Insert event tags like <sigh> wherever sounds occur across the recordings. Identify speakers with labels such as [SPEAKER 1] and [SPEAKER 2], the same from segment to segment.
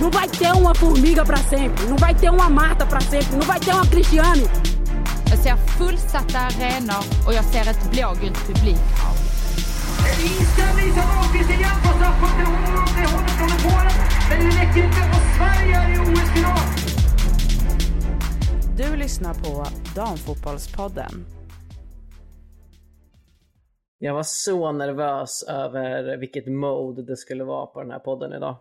[SPEAKER 1] Não vai ter uma formiga pra sempre, não vai ter uma Marta pra sempre, não vai ter uma Cristiane.
[SPEAKER 2] Jag ser fullsatta arenor och jag ser ett blågult publikhav.
[SPEAKER 3] Inställning som avgörs igen på straffpunkten. Hon håller hållet från Polen, men det räcker inte. Och Sverige är i OS-final.
[SPEAKER 4] Du lyssnar på Damfotbollspodden.
[SPEAKER 5] Jag var så nervös över vilket mode det skulle vara på den här podden idag.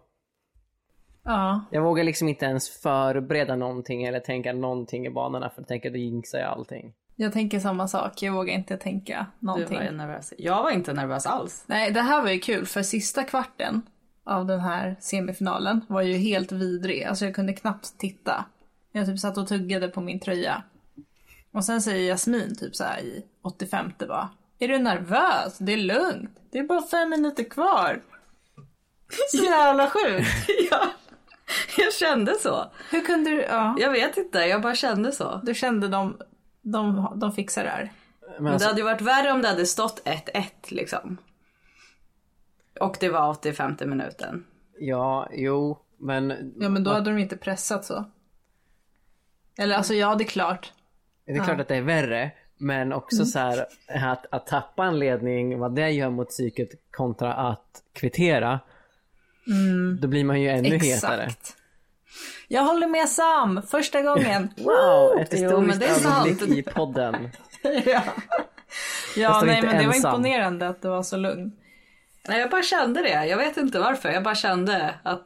[SPEAKER 6] Ja.
[SPEAKER 5] Jag vågar liksom inte ens förbereda någonting eller tänka någonting i banorna för jag tänker då jinxar jag allting.
[SPEAKER 6] Jag tänker samma sak, jag vågar inte tänka
[SPEAKER 7] Du
[SPEAKER 6] någonting.
[SPEAKER 7] var ju nervös. Jag var inte nervös alls.
[SPEAKER 6] Nej, det här var ju kul för sista kvarten av den här semifinalen var ju helt vidrig. Alltså jag kunde knappt titta. Jag typ satt och tuggade på min tröja. Och sen säger Jasmin typ så här i 85 bara. Är du nervös? Det är lugnt. Det är bara fem minuter
[SPEAKER 7] <laughs>
[SPEAKER 6] kvar. Jävla sjukt.
[SPEAKER 7] ja, jag kände så.
[SPEAKER 6] Hur kunde du? Ja.
[SPEAKER 7] Jag vet inte, jag bara kände så.
[SPEAKER 6] Du kände de, de, de fixar det här.
[SPEAKER 5] Men
[SPEAKER 7] Men det
[SPEAKER 5] alltså,
[SPEAKER 7] hade ju varit värre om det hade stått 1-1 liksom. Och det var 85 minuten.
[SPEAKER 5] ja, jo, men
[SPEAKER 6] Ja men då hade de inte pressat så. Eller alltså ja det är klart.
[SPEAKER 5] det är klart att det är värre. Men
[SPEAKER 7] Mm.
[SPEAKER 5] också så här att, att tappa en ledning, vad det gör mot psyket kontra att kvittera.
[SPEAKER 7] Mm.
[SPEAKER 5] Då blir man ju ännu hetare.
[SPEAKER 6] Jag håller med Sam, första gången.
[SPEAKER 5] Wow, ett
[SPEAKER 7] Jo, men
[SPEAKER 5] historiskt
[SPEAKER 7] det är sant.
[SPEAKER 5] ögonblick i podden.
[SPEAKER 6] <laughs> ja, ja
[SPEAKER 5] Fast de är
[SPEAKER 6] nej
[SPEAKER 5] inte
[SPEAKER 6] men det var
[SPEAKER 5] ensam.
[SPEAKER 6] imponerande att det var så lugnt.
[SPEAKER 7] Nej, jag bara kände det. Jag vet inte varför. Jag bara kände att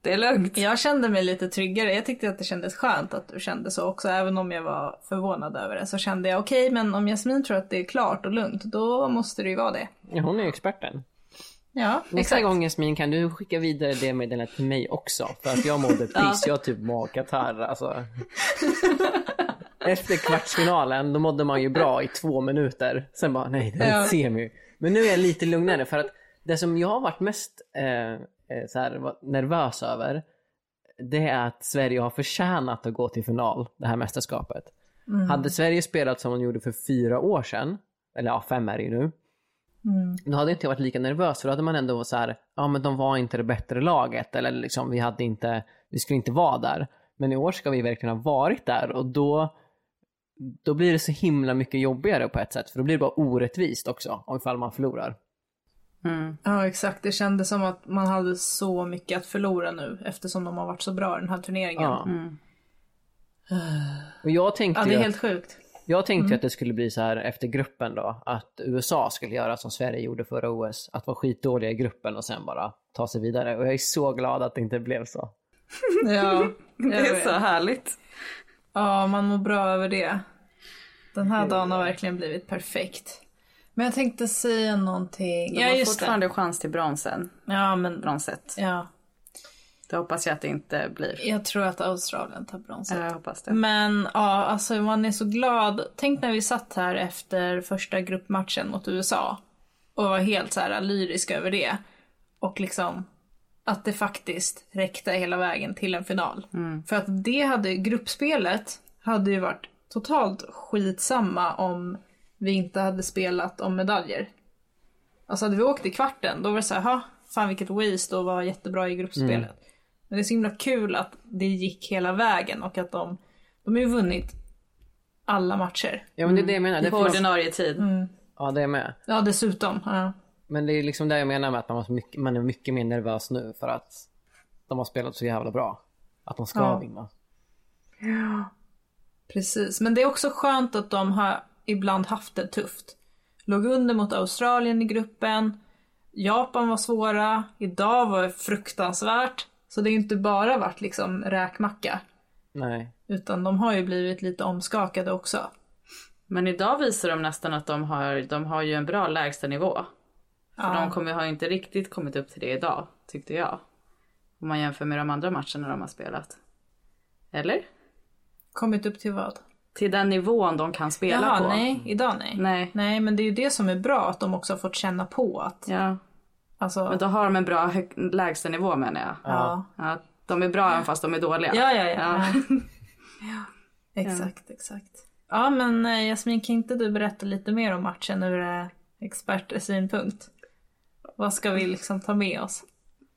[SPEAKER 7] det är lugnt.
[SPEAKER 6] Jag kände mig lite tryggare. Jag tyckte att det kändes skönt att du kände så också. Även om jag var förvånad över det så kände jag okej men om Jasmin tror att det är klart och lugnt då måste det ju vara det.
[SPEAKER 5] Ja, Hon är ju experten.
[SPEAKER 6] Ja,
[SPEAKER 5] Nästa gång Jasmin kan du skicka vidare det meddelandet till mig också. För att jag mådde piss, jag har typ magkatarr alltså. Efter kvartsfinalen då mådde man ju bra i två minuter. Sen bara nej det är
[SPEAKER 6] Ja.
[SPEAKER 5] en semi. Men nu är jag lite lugnare för att det som jag har varit mest eh, eh, så här, var- nervös över det är att Sverige har förtjänat att gå till final det här mästerskapet.
[SPEAKER 6] Mm.
[SPEAKER 5] Hade Sverige spelat som de gjorde för fyra år sedan, eller ja fem är det ju nu,
[SPEAKER 6] Mm.
[SPEAKER 5] då hade inte jag varit lika nervös för då hade man ändå så här, ja men de var inte det bättre laget eller liksom vi hade inte, vi skulle inte vara där. Men i år ska vi verkligen ha varit där och då, då blir det så himla mycket jobbigare på ett sätt för då blir det bara orättvist också om ifall man förlorar.
[SPEAKER 7] Mm.
[SPEAKER 6] Ja exakt, det kändes som att man hade så mycket att förlora nu eftersom de har varit så bra i den här turneringen.
[SPEAKER 5] Ja.
[SPEAKER 7] Mm.
[SPEAKER 5] Och jag tänkte
[SPEAKER 6] Ja, det
[SPEAKER 5] ju
[SPEAKER 6] är
[SPEAKER 5] att-
[SPEAKER 6] helt Mm. sjukt.
[SPEAKER 5] Jag tänkte ju att det skulle bli så här efter gruppen då, att USA skulle göra som Sverige gjorde förra OS, att vara skitdåliga i gruppen och sen bara ta sig vidare. Och jag är så glad att det inte blev så.
[SPEAKER 7] <laughs>
[SPEAKER 6] Ja,
[SPEAKER 7] Det är så härligt.
[SPEAKER 6] Ja, man mår bra över det. Den här dagen har verkligen blivit perfekt. Men jag tänkte säga någonting.
[SPEAKER 7] De
[SPEAKER 6] Ja,
[SPEAKER 7] har
[SPEAKER 6] just det.
[SPEAKER 7] fortfarande chans till bronsen.
[SPEAKER 6] Ja, men
[SPEAKER 7] Bronset.
[SPEAKER 6] ja.
[SPEAKER 7] Det hoppas jag att det inte blir.
[SPEAKER 6] Jag tror att Australien tar brons.
[SPEAKER 7] Jag hoppas
[SPEAKER 6] Mm.
[SPEAKER 7] det.
[SPEAKER 6] Men ja, alltså man är så glad. Tänk när vi satt här efter första gruppmatchen mot USA och var helt så här lyriska över det. Och liksom att det faktiskt räckte hela vägen till en final. För att det hade gruppspelet hade ju varit totalt skitsamma om vi inte hade spelat om medaljer. Alltså hade vi åkt i kvarten då var det så här, "Ha, fan vilket waste och var jättebra i gruppspelet. Men det är så himla kul att det gick hela vägen och att de, de har ju vunnit alla matcher.
[SPEAKER 5] Ja men det är det jag menar. Det
[SPEAKER 7] På
[SPEAKER 5] får man-
[SPEAKER 7] ordinarie tid.
[SPEAKER 6] Mm.
[SPEAKER 5] Ja det är med.
[SPEAKER 6] Ja dessutom. Ja.
[SPEAKER 5] Men det är liksom det jag menar med att man, var så mycket, man är mycket mer nervös nu för att de har spelat så jävla bra. Att de ska
[SPEAKER 6] Ja.
[SPEAKER 5] vinna.
[SPEAKER 6] Precis, men det är också skönt att de har ibland haft det tufft. Låg under mot Australien i gruppen. Japan var svåra. Idag var det fruktansvärt. Så det är ju inte bara varit liksom räkmacka.
[SPEAKER 5] Nej.
[SPEAKER 6] Utan de har ju blivit lite omskakade också.
[SPEAKER 7] Men idag visar de nästan att de har, de har ju en bra lägstanivå. För
[SPEAKER 6] Ja.
[SPEAKER 7] de kommer, har ju inte riktigt kommit upp till det idag, tyckte jag. Om man jämför med de andra matcherna de har spelat. Eller?
[SPEAKER 6] Kommit upp till vad?
[SPEAKER 7] Till den nivån de kan spela
[SPEAKER 6] Jaha,
[SPEAKER 7] på.
[SPEAKER 6] nej. Idag nej.
[SPEAKER 7] Nej.
[SPEAKER 6] Nej, men det är ju det som är bra att de också har fått känna på att...
[SPEAKER 7] Ja.
[SPEAKER 6] Alltså,
[SPEAKER 7] Men då har de en bra hög, lägstanivå menar jag.
[SPEAKER 6] ja.
[SPEAKER 7] Ja, de är bra även fast de är dåliga.
[SPEAKER 6] Ja, ja, ja. Exakt, exakt. Ja, men eh, Jasmin, kan inte du berätta lite mer om matchen ur eh, expertsynpunkt? Vad ska vi liksom ta med oss?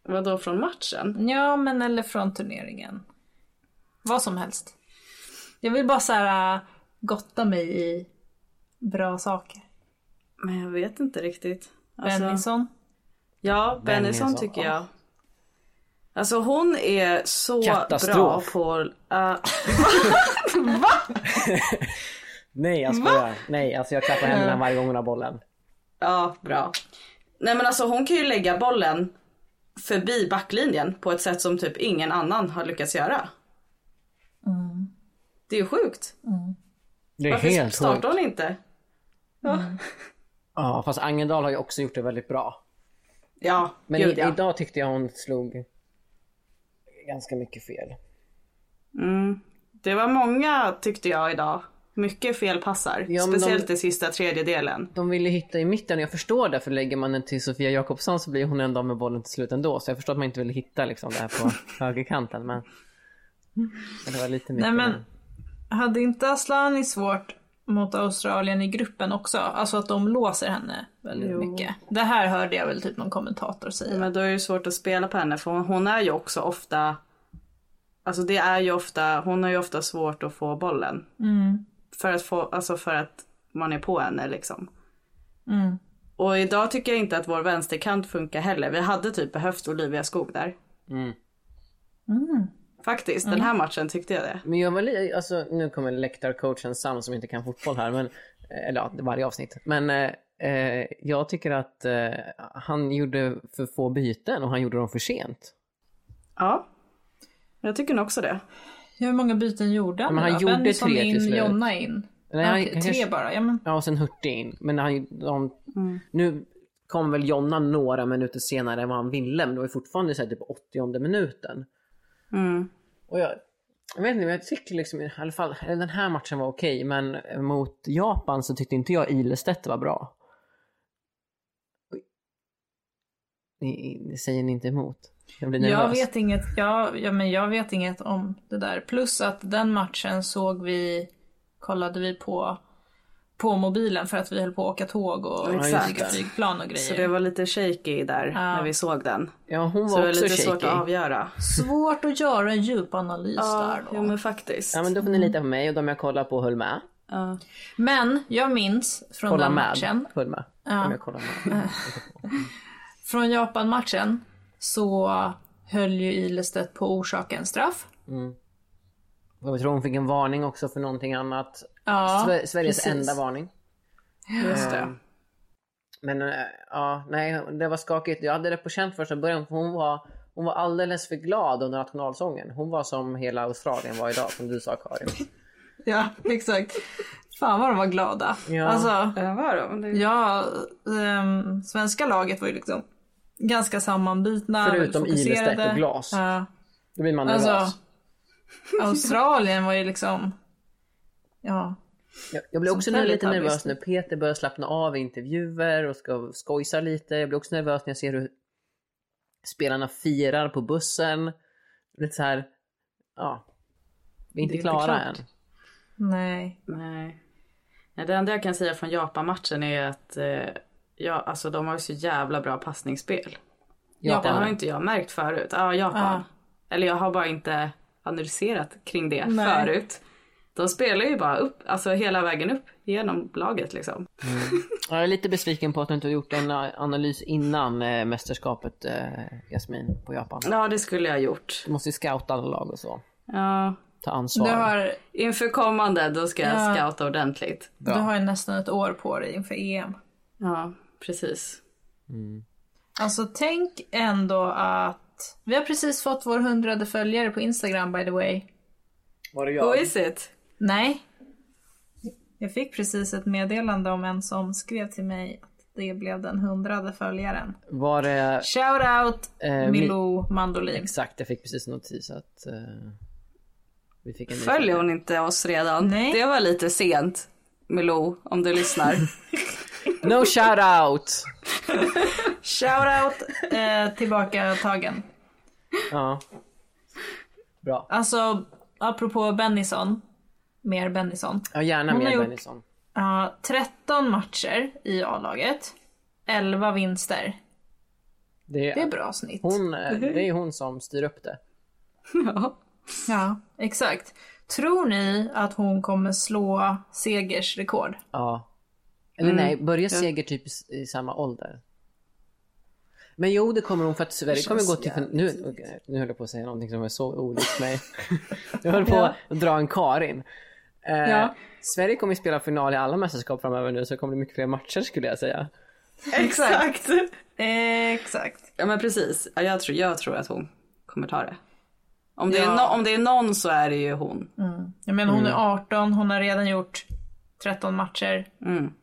[SPEAKER 7] Vadå från matchen?
[SPEAKER 6] Ja, men eller från turneringen. Vad som helst. Jag vill bara så här äh, gotta mig i bra saker.
[SPEAKER 7] Men jag vet inte riktigt. Alltså-
[SPEAKER 6] Bennison.
[SPEAKER 7] Ja, Bennison
[SPEAKER 5] Bennison,
[SPEAKER 7] tycker
[SPEAKER 5] ja.
[SPEAKER 7] jag. Alltså hon är så bra
[SPEAKER 5] Katastrof.
[SPEAKER 7] på... ja,
[SPEAKER 5] Nej, jag skojar. Nej, alltså jag klappar händerna varje gång hon har bollen.
[SPEAKER 7] ja, bra. Nej men alltså hon kan ju lägga bollen förbi backlinjen på ett sätt som typ ingen annan har lyckats göra. Det är ju sjukt.
[SPEAKER 5] Det är
[SPEAKER 7] Varför
[SPEAKER 5] helt
[SPEAKER 7] startar
[SPEAKER 5] sjukt.
[SPEAKER 7] hon inte? Ja,
[SPEAKER 5] Ja, fast Angendal har ju också gjort det väldigt bra.
[SPEAKER 7] ja
[SPEAKER 5] Men
[SPEAKER 7] gud
[SPEAKER 5] i,
[SPEAKER 7] ja.
[SPEAKER 5] idag tyckte jag hon slog ganska mycket fel.
[SPEAKER 7] Det var många tyckte jag idag. Mycket felpassar.
[SPEAKER 5] Ja, men de-
[SPEAKER 7] speciellt i sista tredjedelen.
[SPEAKER 5] De ville hitta i mitten och jag förstår det, för lägger man den till Sofia Jakobsson så blir hon en dag med bollen till slut ändå. Så jag förstår att man inte ville hitta liksom det här på högerkanten. Men... men det var lite mycket.
[SPEAKER 6] Nej men, hade inte Aslani svårt mot Australien i gruppen också? Alltså att de låser henne väldigt mycket. Det här hörde jag väl typ någon kommentator säga.
[SPEAKER 7] Men då är det ju svårt att spela på henne för hon, hon är ju också ofta Alltså det är ju ofta, hon har ju ofta svårt att få bollen. För att få, alltså för att man är på henne liksom. Och idag tycker jag inte att vår vänsterkant funkar heller. Vi hade typ behövt Olivia Skog där.
[SPEAKER 5] Mm.
[SPEAKER 7] Faktiskt, den här matchen tyckte jag det.
[SPEAKER 5] Men jag var li- alltså, nu kommer läktarcoachen Sam som inte kan fotboll här, men, eh, eller ja, varje avsnitt. Men eh, eh, jag tycker att eh, han gjorde för få byten och han gjorde dem för sent.
[SPEAKER 7] Ja. Jag tycker nog också det.
[SPEAKER 6] Hur många byten gjorde han
[SPEAKER 5] Men han
[SPEAKER 6] då?
[SPEAKER 5] gjorde
[SPEAKER 6] Bennison
[SPEAKER 5] tre till
[SPEAKER 6] in,
[SPEAKER 5] slut.
[SPEAKER 6] Jonna in.
[SPEAKER 5] Nej,
[SPEAKER 6] Ah,
[SPEAKER 5] han-
[SPEAKER 6] okej,
[SPEAKER 5] han
[SPEAKER 6] tre
[SPEAKER 5] kanske-
[SPEAKER 6] bara, ja men.
[SPEAKER 5] Ja, och sen Hurtig in. Men han, de,
[SPEAKER 7] Mm.
[SPEAKER 5] nu kom väl Jonna några minuter senare än vad han ville, men det var ju fortfarande så här, typ 80 minuten.
[SPEAKER 7] Mm.
[SPEAKER 5] Och jag, jag vet inte, men jag tycker liksom i alla fall, eller den här matchen var okej, men mot Japan så tyckte inte jag Ilestedt var bra. Ni, ni säger ni inte emot? Jag blir nervös.
[SPEAKER 6] Jag vet, inget, ja, ja, men jag vet inget om det där. Plus att den matchen såg vi, kollade vi på, på mobilen för att vi höll på att åka tåg och
[SPEAKER 7] Ja,
[SPEAKER 5] just
[SPEAKER 6] flyga
[SPEAKER 5] det.
[SPEAKER 6] flygplan och
[SPEAKER 7] Så
[SPEAKER 6] grejer.
[SPEAKER 7] det var lite shaky där när vi såg den.
[SPEAKER 5] Ja, hon
[SPEAKER 7] Så
[SPEAKER 5] Mm. var
[SPEAKER 7] det var
[SPEAKER 5] också
[SPEAKER 7] lite
[SPEAKER 5] shaky.
[SPEAKER 7] svårt att avgöra.
[SPEAKER 6] Svårt att göra en djupanalys där då.
[SPEAKER 7] jo men faktiskt.
[SPEAKER 5] Ja, men då får ni lita på mig och de jag kollar på höll med.
[SPEAKER 7] Ja.
[SPEAKER 6] Men jag minns från
[SPEAKER 5] Kolla
[SPEAKER 6] den
[SPEAKER 5] med.
[SPEAKER 6] matchen,
[SPEAKER 5] Höll med.
[SPEAKER 6] Ja.
[SPEAKER 5] De jag kollar med.
[SPEAKER 6] från Japan-matchen, så höll ju Ilestedt på orsaken straff.
[SPEAKER 5] Och jag tror hon fick en varning också för någonting annat.
[SPEAKER 6] Ja,
[SPEAKER 5] Sve- Sveriges
[SPEAKER 6] precis.
[SPEAKER 5] enda varning.
[SPEAKER 7] Just det.
[SPEAKER 5] Men eh, ja, nej, det var skakigt. Jag hade det på känn första början för hon var, hon var alldeles för glad under nationalsången. Hon var som hela Australien var idag, som du sa Karin.
[SPEAKER 6] <laughs> Ja, exakt. Fan vad de var glada.
[SPEAKER 5] Ja.
[SPEAKER 6] Alltså,
[SPEAKER 7] Ja, var de? Det...
[SPEAKER 6] Ja, ehm, svenska laget var ju liksom ganska sammanbitna.
[SPEAKER 5] Förutom
[SPEAKER 6] fokuserade.
[SPEAKER 5] Ilestedt och Glas.
[SPEAKER 6] Ja.
[SPEAKER 5] Då blir man nervös.
[SPEAKER 6] Alltså,
[SPEAKER 5] <laughs>
[SPEAKER 6] Australien var ju liksom... Ja.
[SPEAKER 5] jag, jag blir också
[SPEAKER 6] sånt där
[SPEAKER 5] lite
[SPEAKER 6] lite
[SPEAKER 5] nervös
[SPEAKER 6] habist.
[SPEAKER 5] när Peter börjar slappna av i intervjuer och ska skojsa lite. Jag blir också nervös när jag ser hur spelarna firar på bussen. Lite så här, ja. Vi är inte
[SPEAKER 7] Det är inte
[SPEAKER 5] klara
[SPEAKER 7] klart.
[SPEAKER 5] än.
[SPEAKER 6] Nej.
[SPEAKER 7] Nej. Nej, det enda jag kan säga från Japan-matchen är att eh, ja, alltså, de har ju så jävla bra passningsspel. Det har inte jag märkt förut. Ja, Japan.
[SPEAKER 6] Ja.
[SPEAKER 7] Eller jag har bara inte analyserat kring det
[SPEAKER 6] Nej.
[SPEAKER 7] förut. De spelar ju bara upp, alltså hela vägen upp genom laget liksom.
[SPEAKER 5] Jag är lite besviken på att du inte har gjort en eh, analys innan eh, mästerskapet, eh, Jasmin, på Japan.
[SPEAKER 7] Ja, det skulle jag ha gjort.
[SPEAKER 5] Du måste ju scouta alla lag och så.
[SPEAKER 7] Ja.
[SPEAKER 5] Ta
[SPEAKER 6] Du
[SPEAKER 5] ansvar.
[SPEAKER 6] har,
[SPEAKER 7] Inför kommande, då ska jag
[SPEAKER 6] Ja.
[SPEAKER 7] scouta ordentligt.
[SPEAKER 5] Bra.
[SPEAKER 6] du har ju nästan ett år på dig inför E EM.
[SPEAKER 7] Ja, precis.
[SPEAKER 6] Alltså tänk ändå att... Vi har precis fått vår hundrade följare på Instagram by the way.
[SPEAKER 5] Var det
[SPEAKER 7] Who is it?
[SPEAKER 6] Nej. Jag fick precis ett meddelande om en som skrev till mig att det blev den hundrade följaren.
[SPEAKER 5] Var det...
[SPEAKER 6] Shout out
[SPEAKER 5] Eh,
[SPEAKER 6] Milou Mandolin.
[SPEAKER 5] Exakt, jag fick precis en notis att... eh, vi fick en ny-
[SPEAKER 7] Följer hon inte oss redan?
[SPEAKER 6] Nej.
[SPEAKER 7] Det var lite sent. Milou, om du <laughs> lyssnar.
[SPEAKER 5] No shout out!
[SPEAKER 6] Shout out eh, tillbaka tagen.
[SPEAKER 5] Ja. Bra.
[SPEAKER 6] Alltså apropå Bennison. Mer Bennison.
[SPEAKER 5] Ja, gärna
[SPEAKER 6] Hon har
[SPEAKER 5] mer
[SPEAKER 6] gjort-
[SPEAKER 5] Bennison.
[SPEAKER 6] Ja, 13 matcher i A-laget. 11 vinster.
[SPEAKER 5] Det är,
[SPEAKER 6] Det är bra Mm-hmm. snitt.
[SPEAKER 5] Hon, eh, det är hon som styr upp det.
[SPEAKER 7] Ja.
[SPEAKER 6] Ja, exakt. Tror ni att hon kommer slå Segers rekord?
[SPEAKER 5] Ja. Eller
[SPEAKER 7] Mm,
[SPEAKER 5] nej, börjar Seger typ i, s- i samma ålder? Men jo, det kommer hon för att Sverige
[SPEAKER 6] Det
[SPEAKER 5] kommer gå
[SPEAKER 6] känns
[SPEAKER 5] till... fin-
[SPEAKER 6] jävligt
[SPEAKER 5] Nu, okej, nu höll jag på att säga någonting som är så olikt
[SPEAKER 6] <laughs>
[SPEAKER 5] mig. jag höll på att dra en Karin. Eh,
[SPEAKER 6] Ja.
[SPEAKER 5] Sverige kommer ju spela final i alla mästerskap framöver nu så det kommer bli mycket fler matcher skulle jag säga.
[SPEAKER 7] Exakt.
[SPEAKER 6] Exakt.
[SPEAKER 7] Ja men precis. Ja, Jag tror, jag tror att hon kommer ta det. Om det,
[SPEAKER 6] Ja.
[SPEAKER 7] är, no, om det är någon så är det ju hon.
[SPEAKER 6] Jag menar hon är 18, hon har redan gjort 13 matcher.
[SPEAKER 7] Mm.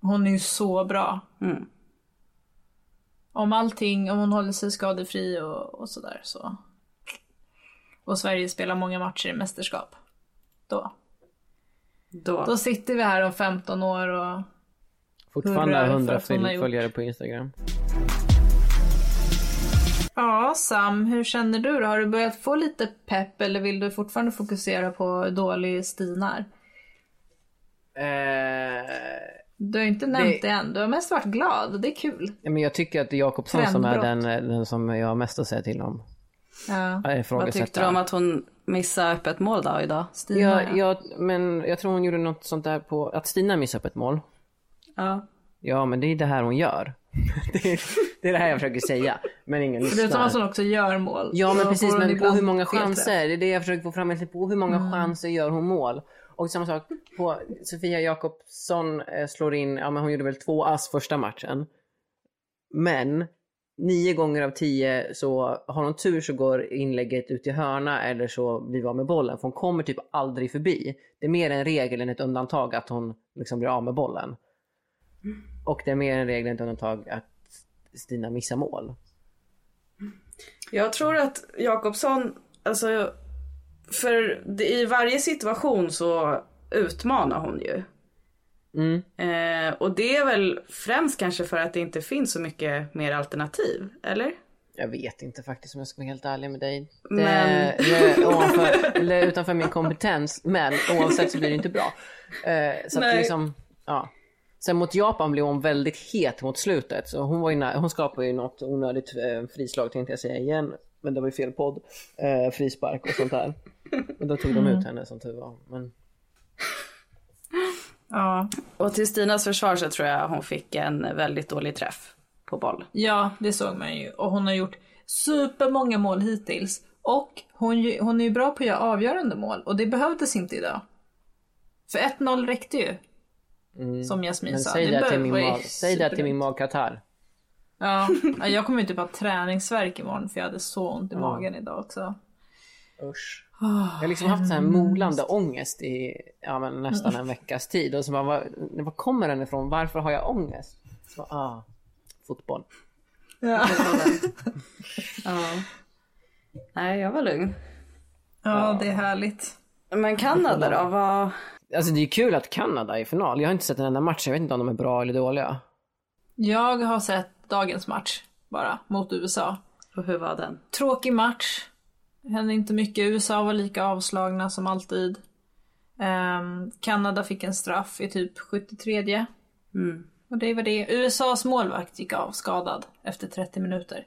[SPEAKER 6] Hon är ju så bra.
[SPEAKER 7] Mm.
[SPEAKER 6] Om allting, om hon håller sig skadefri och, och sådär så. Och Sverige spelar många matcher i mästerskap. Då.
[SPEAKER 7] Då.
[SPEAKER 6] Då sitter vi här om 15 år och
[SPEAKER 5] Fortfarande
[SPEAKER 6] Hurra
[SPEAKER 5] har
[SPEAKER 6] för
[SPEAKER 5] 100
[SPEAKER 6] att hon har
[SPEAKER 5] följ-
[SPEAKER 6] gjort.
[SPEAKER 5] följare på Instagram.
[SPEAKER 6] Ja, Sam, hur känner du då? Har du börjat få lite pepp eller vill du fortfarande fokusera på hur dålig Stina är?
[SPEAKER 5] Eh,
[SPEAKER 6] Du har inte nämnt
[SPEAKER 5] Det-
[SPEAKER 6] det, än, du har mest varit glad, det är kul.
[SPEAKER 5] ja, men jag tycker att det är Jakobsson som är den, eh,
[SPEAKER 6] Trendbrott.
[SPEAKER 5] den som jag har mest att säga till om.
[SPEAKER 6] Ja,
[SPEAKER 5] Jag
[SPEAKER 7] Vad tyckte du om att hon missade öppet mål då idag?
[SPEAKER 6] Stina
[SPEAKER 5] Ja,
[SPEAKER 6] ja.
[SPEAKER 5] ja, men jag tror hon gjorde något sånt där på att Stina missade upp ett mål.
[SPEAKER 7] Ja.
[SPEAKER 5] Ja, men det är det här hon gör. <laughs> det, är, det är det här jag försöker säga, men ingen
[SPEAKER 6] Du är sån
[SPEAKER 5] lyssnar.
[SPEAKER 6] som också gör mål.
[SPEAKER 5] Ja, men
[SPEAKER 6] Så
[SPEAKER 5] precis,
[SPEAKER 6] får hon
[SPEAKER 5] men på
[SPEAKER 6] ibland
[SPEAKER 5] hur många
[SPEAKER 6] fel Mm. träff.
[SPEAKER 5] chanser? Det är det jag försöker få fram, egentligen, på hur många chanser gör hon mål? Och samma sak, på Sofia Jakobsson eh, slår in, ja men hon gjorde väl två ass första matchen. Men nio gånger av tio så har hon tur så går inlägget ut i hörna eller så blir vi av med bollen. För hon kommer typ aldrig förbi. Det är mer en regel än ett undantag att hon liksom blir av med bollen.
[SPEAKER 6] Mm.
[SPEAKER 5] Och det är mer en regel än ett undantag att Stina missar mål.
[SPEAKER 7] Jag tror att Jakobsson, alltså, för det- i varje situation så utmanar hon ju.
[SPEAKER 5] Mm.
[SPEAKER 7] Eh, och det är väl främst kanske för att det inte finns så mycket mer alternativ, eller?
[SPEAKER 5] Jag vet inte faktiskt om jag ska vara helt ärlig med dig. Det,
[SPEAKER 7] Men-
[SPEAKER 5] det är ovanför, eller utanför min kompetens, men oavsett så blir det inte bra. Eh, så att
[SPEAKER 7] Nej.
[SPEAKER 5] liksom, ja. Sen mot Japan blev hon väldigt het mot slutet. Så hon, var ju nä- hon skapade ju något onödigt eh, frislag tänkte jag säga igen. Men det var ju fel podd. Eh, frispark och sånt där. Men då tog de ut henne som tur var. Men,
[SPEAKER 6] Ja.
[SPEAKER 7] Och till Stinas försvar så tror jag hon fick en väldigt dålig träff
[SPEAKER 6] <laughs>
[SPEAKER 7] på boll.
[SPEAKER 6] ja, det såg man ju. Och hon har gjort supermånga mål hittills. Och hon, ju- hon är ju bra på att göra avgörande mål och det behövdes inte idag. För 1-0 räckte ju. Som Jasmin
[SPEAKER 5] Mm. men
[SPEAKER 6] sa.
[SPEAKER 5] säg, det till
[SPEAKER 6] behöver-
[SPEAKER 5] min
[SPEAKER 6] var ju
[SPEAKER 5] mag, säg det till min
[SPEAKER 6] superdumt.
[SPEAKER 5] magkatarr.
[SPEAKER 6] Ja, ja, jag kommer ju typ ha träningsvärk imorgon för jag hade så ont i magen idag också.
[SPEAKER 5] Usch.
[SPEAKER 6] Ah,
[SPEAKER 5] Jag har liksom haft så här molande ångest i ja, men nästan en veckas tid. Och så bara, var, var kommer den ifrån? Varför har jag ångest? Så bara, ah, fotboll.
[SPEAKER 6] Ja,
[SPEAKER 7] Ja. Nej, jag var lugn.
[SPEAKER 6] det är härligt.
[SPEAKER 7] Men Kanada då? Vad...
[SPEAKER 5] Alltså det är kul att Kanada är i final. Jag har inte sett en enda match. Jag vet inte om de är bra eller dåliga.
[SPEAKER 6] Jag har sett dagens match bara mot USA.
[SPEAKER 7] Och hur var den?
[SPEAKER 6] Tråkig match. Hände inte mycket. USA var lika avslagna som alltid. Ehm, Kanada fick en straff i typ 73.
[SPEAKER 7] Mm.
[SPEAKER 6] Och det var det. USAs målvakt gick av skadad efter 30 minuter.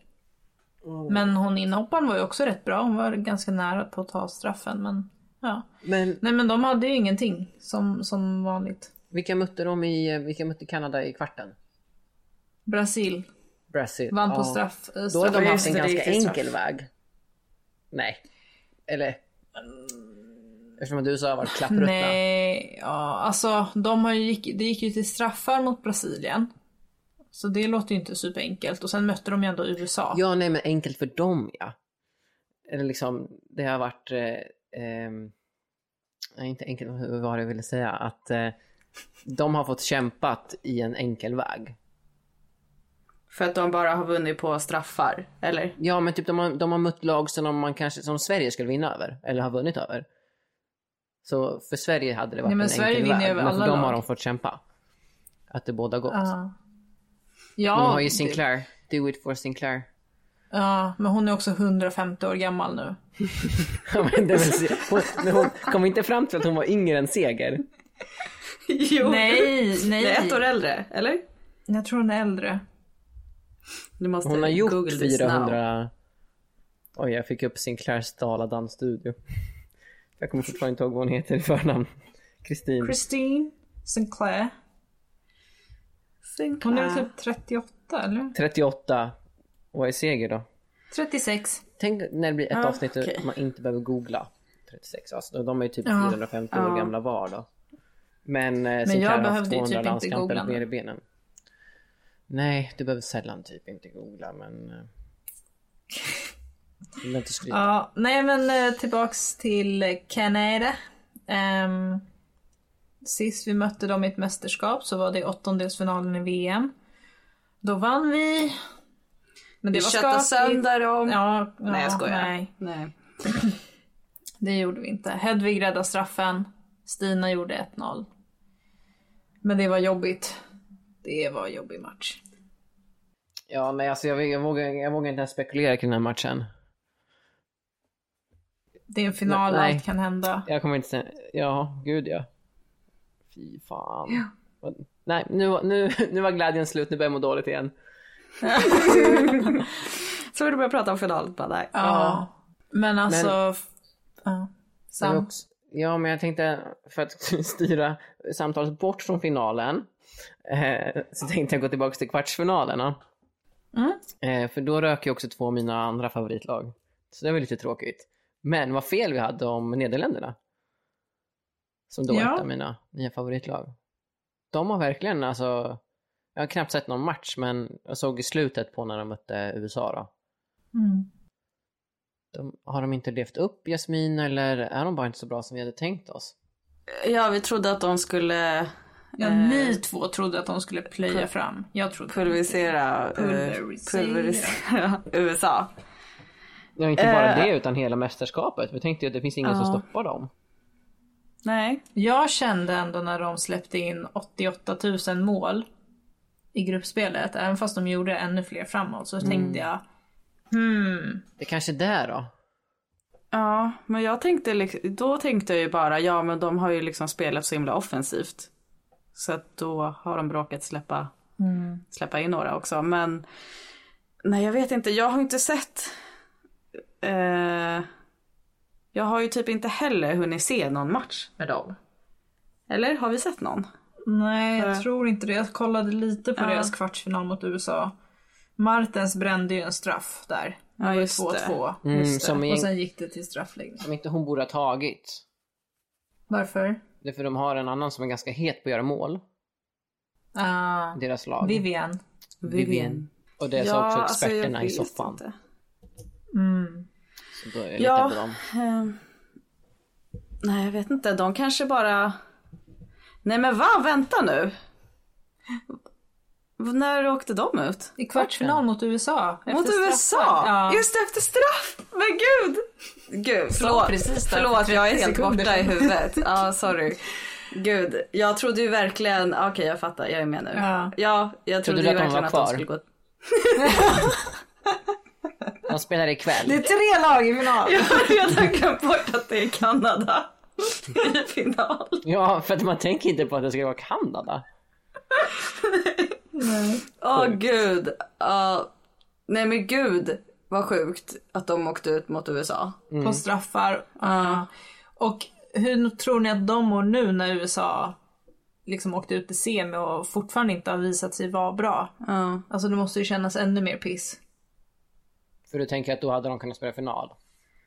[SPEAKER 5] Oh.
[SPEAKER 6] Men hon inhopparen var ju också rätt bra. Hon var ganska nära på att ta straffen men ja.
[SPEAKER 5] Men
[SPEAKER 6] Nej men de hade ju ingenting som, som vanligt.
[SPEAKER 5] vilka mötte de i, vilka mötte Kanada i kvarten?
[SPEAKER 6] Brasil
[SPEAKER 5] Brasil.
[SPEAKER 6] vann på
[SPEAKER 5] Ja.
[SPEAKER 6] straff. eh,
[SPEAKER 5] Då har
[SPEAKER 6] straff.
[SPEAKER 5] de haft en
[SPEAKER 7] Österrike
[SPEAKER 5] ganska
[SPEAKER 7] straff.
[SPEAKER 5] enkel väg. Nej. Eller? Eftersom att USA har varit klappruttna.
[SPEAKER 6] Mm. Nej, ja, alltså de har ju gick, det gick ju till straffar mot Brasilien. Så det låter ju inte superenkelt. Och sen mötte de ju ändå USA.
[SPEAKER 5] Ja, nej men enkelt för dem ja. Eller liksom, det har varit... Eh, ehm, nej, inte enkelt, hur var det jag ville säga? Att eh, de har fått kämpat i en enkel väg.
[SPEAKER 7] För att de bara har vunnit på straffar,
[SPEAKER 6] <laughs>
[SPEAKER 7] eller?
[SPEAKER 5] Ja, men typ de har, de har mött lag som, de man kanske, som Sverige skulle vinna över, eller har vunnit över. Så för Sverige hade det varit
[SPEAKER 6] Nej, men
[SPEAKER 5] en
[SPEAKER 6] Sverige
[SPEAKER 5] enkel
[SPEAKER 6] vinner
[SPEAKER 5] väg,
[SPEAKER 6] över
[SPEAKER 5] men för
[SPEAKER 6] alla
[SPEAKER 5] dem har
[SPEAKER 6] lag.
[SPEAKER 5] de fått kämpa. Att det båda gått.
[SPEAKER 6] Ja.
[SPEAKER 5] Hon
[SPEAKER 6] Ja,
[SPEAKER 5] har ju
[SPEAKER 6] det-
[SPEAKER 5] Sinclair, do it for Sinclair. <laughs>
[SPEAKER 6] ja, men hon är också 150 år gammal nu.
[SPEAKER 5] Ja, men det är väl, hon, men hon kom inte fram till att hon var yngre än Seger.
[SPEAKER 7] jo.
[SPEAKER 6] Nej,
[SPEAKER 5] <laughs>
[SPEAKER 6] nej.
[SPEAKER 7] Det är ett år äldre, eller?
[SPEAKER 6] Jag tror hon är äldre.
[SPEAKER 7] Du måste
[SPEAKER 5] Hon har gjort
[SPEAKER 7] Google this now.
[SPEAKER 5] 400... Oj, jag fick upp Sinclairs Dala dansstudio. Jag kommer fortfarande inte ihåg vad hon heter i förnamn. Kristin.
[SPEAKER 6] Christine Sinclair. Hon är väl typ 38 eller?
[SPEAKER 5] 38. Vad är seger då?
[SPEAKER 6] 36.
[SPEAKER 5] Tänk när det blir ett
[SPEAKER 7] Ja,
[SPEAKER 5] avsnitt där
[SPEAKER 7] okej.
[SPEAKER 5] man inte behöver googla. 36 alltså, De är ju typ
[SPEAKER 6] Ja.
[SPEAKER 5] 450 år
[SPEAKER 7] Ja.
[SPEAKER 5] gamla var då. Men, eh, Sinclair
[SPEAKER 6] jag
[SPEAKER 5] har haft
[SPEAKER 6] behövde ju typ
[SPEAKER 5] 200
[SPEAKER 6] inte
[SPEAKER 5] landskamper
[SPEAKER 6] googla
[SPEAKER 5] mer
[SPEAKER 6] nu.
[SPEAKER 5] i benen. Nej, du behöver sällan typ inte googla men... eh, Du behöver inte skryta.
[SPEAKER 6] Ja, nej men eh, tillbaks till Kanada. Um, sist vi mötte dem i ett mästerskap så var det åttondelsfinalen i VM. Då vann vi. Men det
[SPEAKER 7] Vi
[SPEAKER 6] var
[SPEAKER 7] köttade
[SPEAKER 6] skapligt.
[SPEAKER 7] sönder dem.
[SPEAKER 6] Ja, ja,
[SPEAKER 7] Nej jag skojar.
[SPEAKER 6] Nej,
[SPEAKER 7] Nej.
[SPEAKER 6] det gjorde vi inte. Hedvig räddade straffen. Stina gjorde 1-0. Men det var jobbigt. Det var en jobbig match.
[SPEAKER 5] Ja, nej alltså jag, jag, vågar, jag vågar inte ens spekulera kring den här matchen.
[SPEAKER 6] Det är en final,
[SPEAKER 5] Nej.
[SPEAKER 6] allt kan hända.
[SPEAKER 5] Jag kommer inte säga, ja, gud ja. Fy fan.
[SPEAKER 6] Ja.
[SPEAKER 5] Vad- Nej, nu, var- nu, nu var glädjen slut, nu börjar jag må dåligt igen.
[SPEAKER 7] Så vill du börja prata om finalen. Bara, nej.
[SPEAKER 6] Ja. Men alltså... f- Ja.
[SPEAKER 5] Det var
[SPEAKER 6] Sam.
[SPEAKER 5] också- Ja, men jag tänkte för att <laughs> styra samtalet bort från finalen eh, så tänkte jag gå tillbaka till kvartsfinalerna.
[SPEAKER 6] Mm.
[SPEAKER 5] Eh, för då rök ju också två av mina andra favoritlag. Så det var lite tråkigt. Men vad fel vi hade om Nederländerna. Som då är
[SPEAKER 6] Ja.
[SPEAKER 5] ett av mina nya favoritlag. De har verkligen alltså, jag har knappt sett någon match men jag såg i slutet på när de mötte USA då.
[SPEAKER 6] Mm.
[SPEAKER 5] De, har de inte levt upp Jasmin eller är de bara inte så bra som vi hade tänkt oss?
[SPEAKER 7] Ja vi trodde att de skulle
[SPEAKER 6] Ja,
[SPEAKER 7] Eh,
[SPEAKER 6] ni två trodde att de skulle plöja fram. Jag trodde
[SPEAKER 7] pulverisera, eh,
[SPEAKER 6] Pulverisera.
[SPEAKER 7] pulverisera <laughs> USA.
[SPEAKER 5] Ja, inte bara
[SPEAKER 7] Eh.
[SPEAKER 5] det utan hela mästerskapet. Vi tänkte ju att det finns ingen som stoppar dem.
[SPEAKER 7] Nej.
[SPEAKER 6] Jag kände ändå när de släppte in 88 000 mål i gruppspelet, även fast de gjorde ännu fler framåt,
[SPEAKER 7] Mm.
[SPEAKER 6] så tänkte jag hmm,
[SPEAKER 5] Det kanske är där då.
[SPEAKER 7] Ja men jag tänkte lik- då tänkte jag ju bara ja men de har ju liksom spelat så himla offensivt. Så att då har de råkat släppa, släppa in några också. Men nej jag vet inte, jag har inte sett. Eh, jag har ju typ inte heller hunnit se någon match med dem. Eller har vi sett någon?
[SPEAKER 6] nej jag
[SPEAKER 7] Eh.
[SPEAKER 6] tror inte det. Jag kollade lite på
[SPEAKER 7] Ja.
[SPEAKER 6] deras kvartsfinal mot USA. Martens brände ju en straff där. Det
[SPEAKER 7] Ja,
[SPEAKER 6] var
[SPEAKER 7] just det.
[SPEAKER 6] 2-2.
[SPEAKER 5] Mm, som,
[SPEAKER 6] Och
[SPEAKER 5] egent-
[SPEAKER 6] sen gick det till straffläggning.
[SPEAKER 5] som inte hon borde ha tagit.
[SPEAKER 6] Varför?
[SPEAKER 5] Det är för de har en annan som är ganska het på att göra mål.
[SPEAKER 6] Ah,
[SPEAKER 5] Deras lag.
[SPEAKER 6] Vivian.
[SPEAKER 5] Vivian. Och det sa också
[SPEAKER 7] alltså, jag
[SPEAKER 5] experterna i
[SPEAKER 7] vet
[SPEAKER 5] soffan.
[SPEAKER 7] inte.
[SPEAKER 6] Mm.
[SPEAKER 5] Så då är jag
[SPEAKER 7] Ja.
[SPEAKER 5] lite på dem.
[SPEAKER 7] Ehm, nej, jag vet inte. De kanske bara... Nej, men va? Vänta nu. V- När åkte de ut?
[SPEAKER 6] I kvartsfinal mot USA.
[SPEAKER 7] Mot
[SPEAKER 6] efter
[SPEAKER 7] USA?
[SPEAKER 6] straffar. Ja.
[SPEAKER 7] Just det, efter straff! Men gud! Gud, förlåt.
[SPEAKER 6] precis där
[SPEAKER 7] förlåt,
[SPEAKER 6] för
[SPEAKER 7] jag är
[SPEAKER 6] 30
[SPEAKER 7] helt
[SPEAKER 6] sekunder
[SPEAKER 7] borta i
[SPEAKER 6] sedan.
[SPEAKER 7] huvudet. Ja, sorry. Gud, jag trodde ju verkligen... Okej, jag fattar. Jag är med nu.
[SPEAKER 6] Ja.
[SPEAKER 7] ja jag trodde,
[SPEAKER 5] du
[SPEAKER 7] ju
[SPEAKER 5] att de var
[SPEAKER 7] verkligen att
[SPEAKER 5] kvar?
[SPEAKER 7] de skulle gå... <laughs>
[SPEAKER 5] De spelar ikväll.
[SPEAKER 6] Det är <laughs> tre lag i final.
[SPEAKER 7] Jag har redan glömt bort att det är Kanada <laughs> i final.
[SPEAKER 5] Ja, för att man tänker inte på att det ska vara Kanada.
[SPEAKER 7] Åh gud. Ja. nej men gud vad sjukt att de åkte ut mot USA.
[SPEAKER 5] Mm.
[SPEAKER 6] På straffar. Ja. Och hur tror ni att de mår nu när USA liksom åkte ut i semi och fortfarande inte har visat sig vara bra?
[SPEAKER 7] Ja.
[SPEAKER 6] Alltså det måste ju kännas ännu mer piss.
[SPEAKER 5] För du tänker att då hade de kunnat spela final.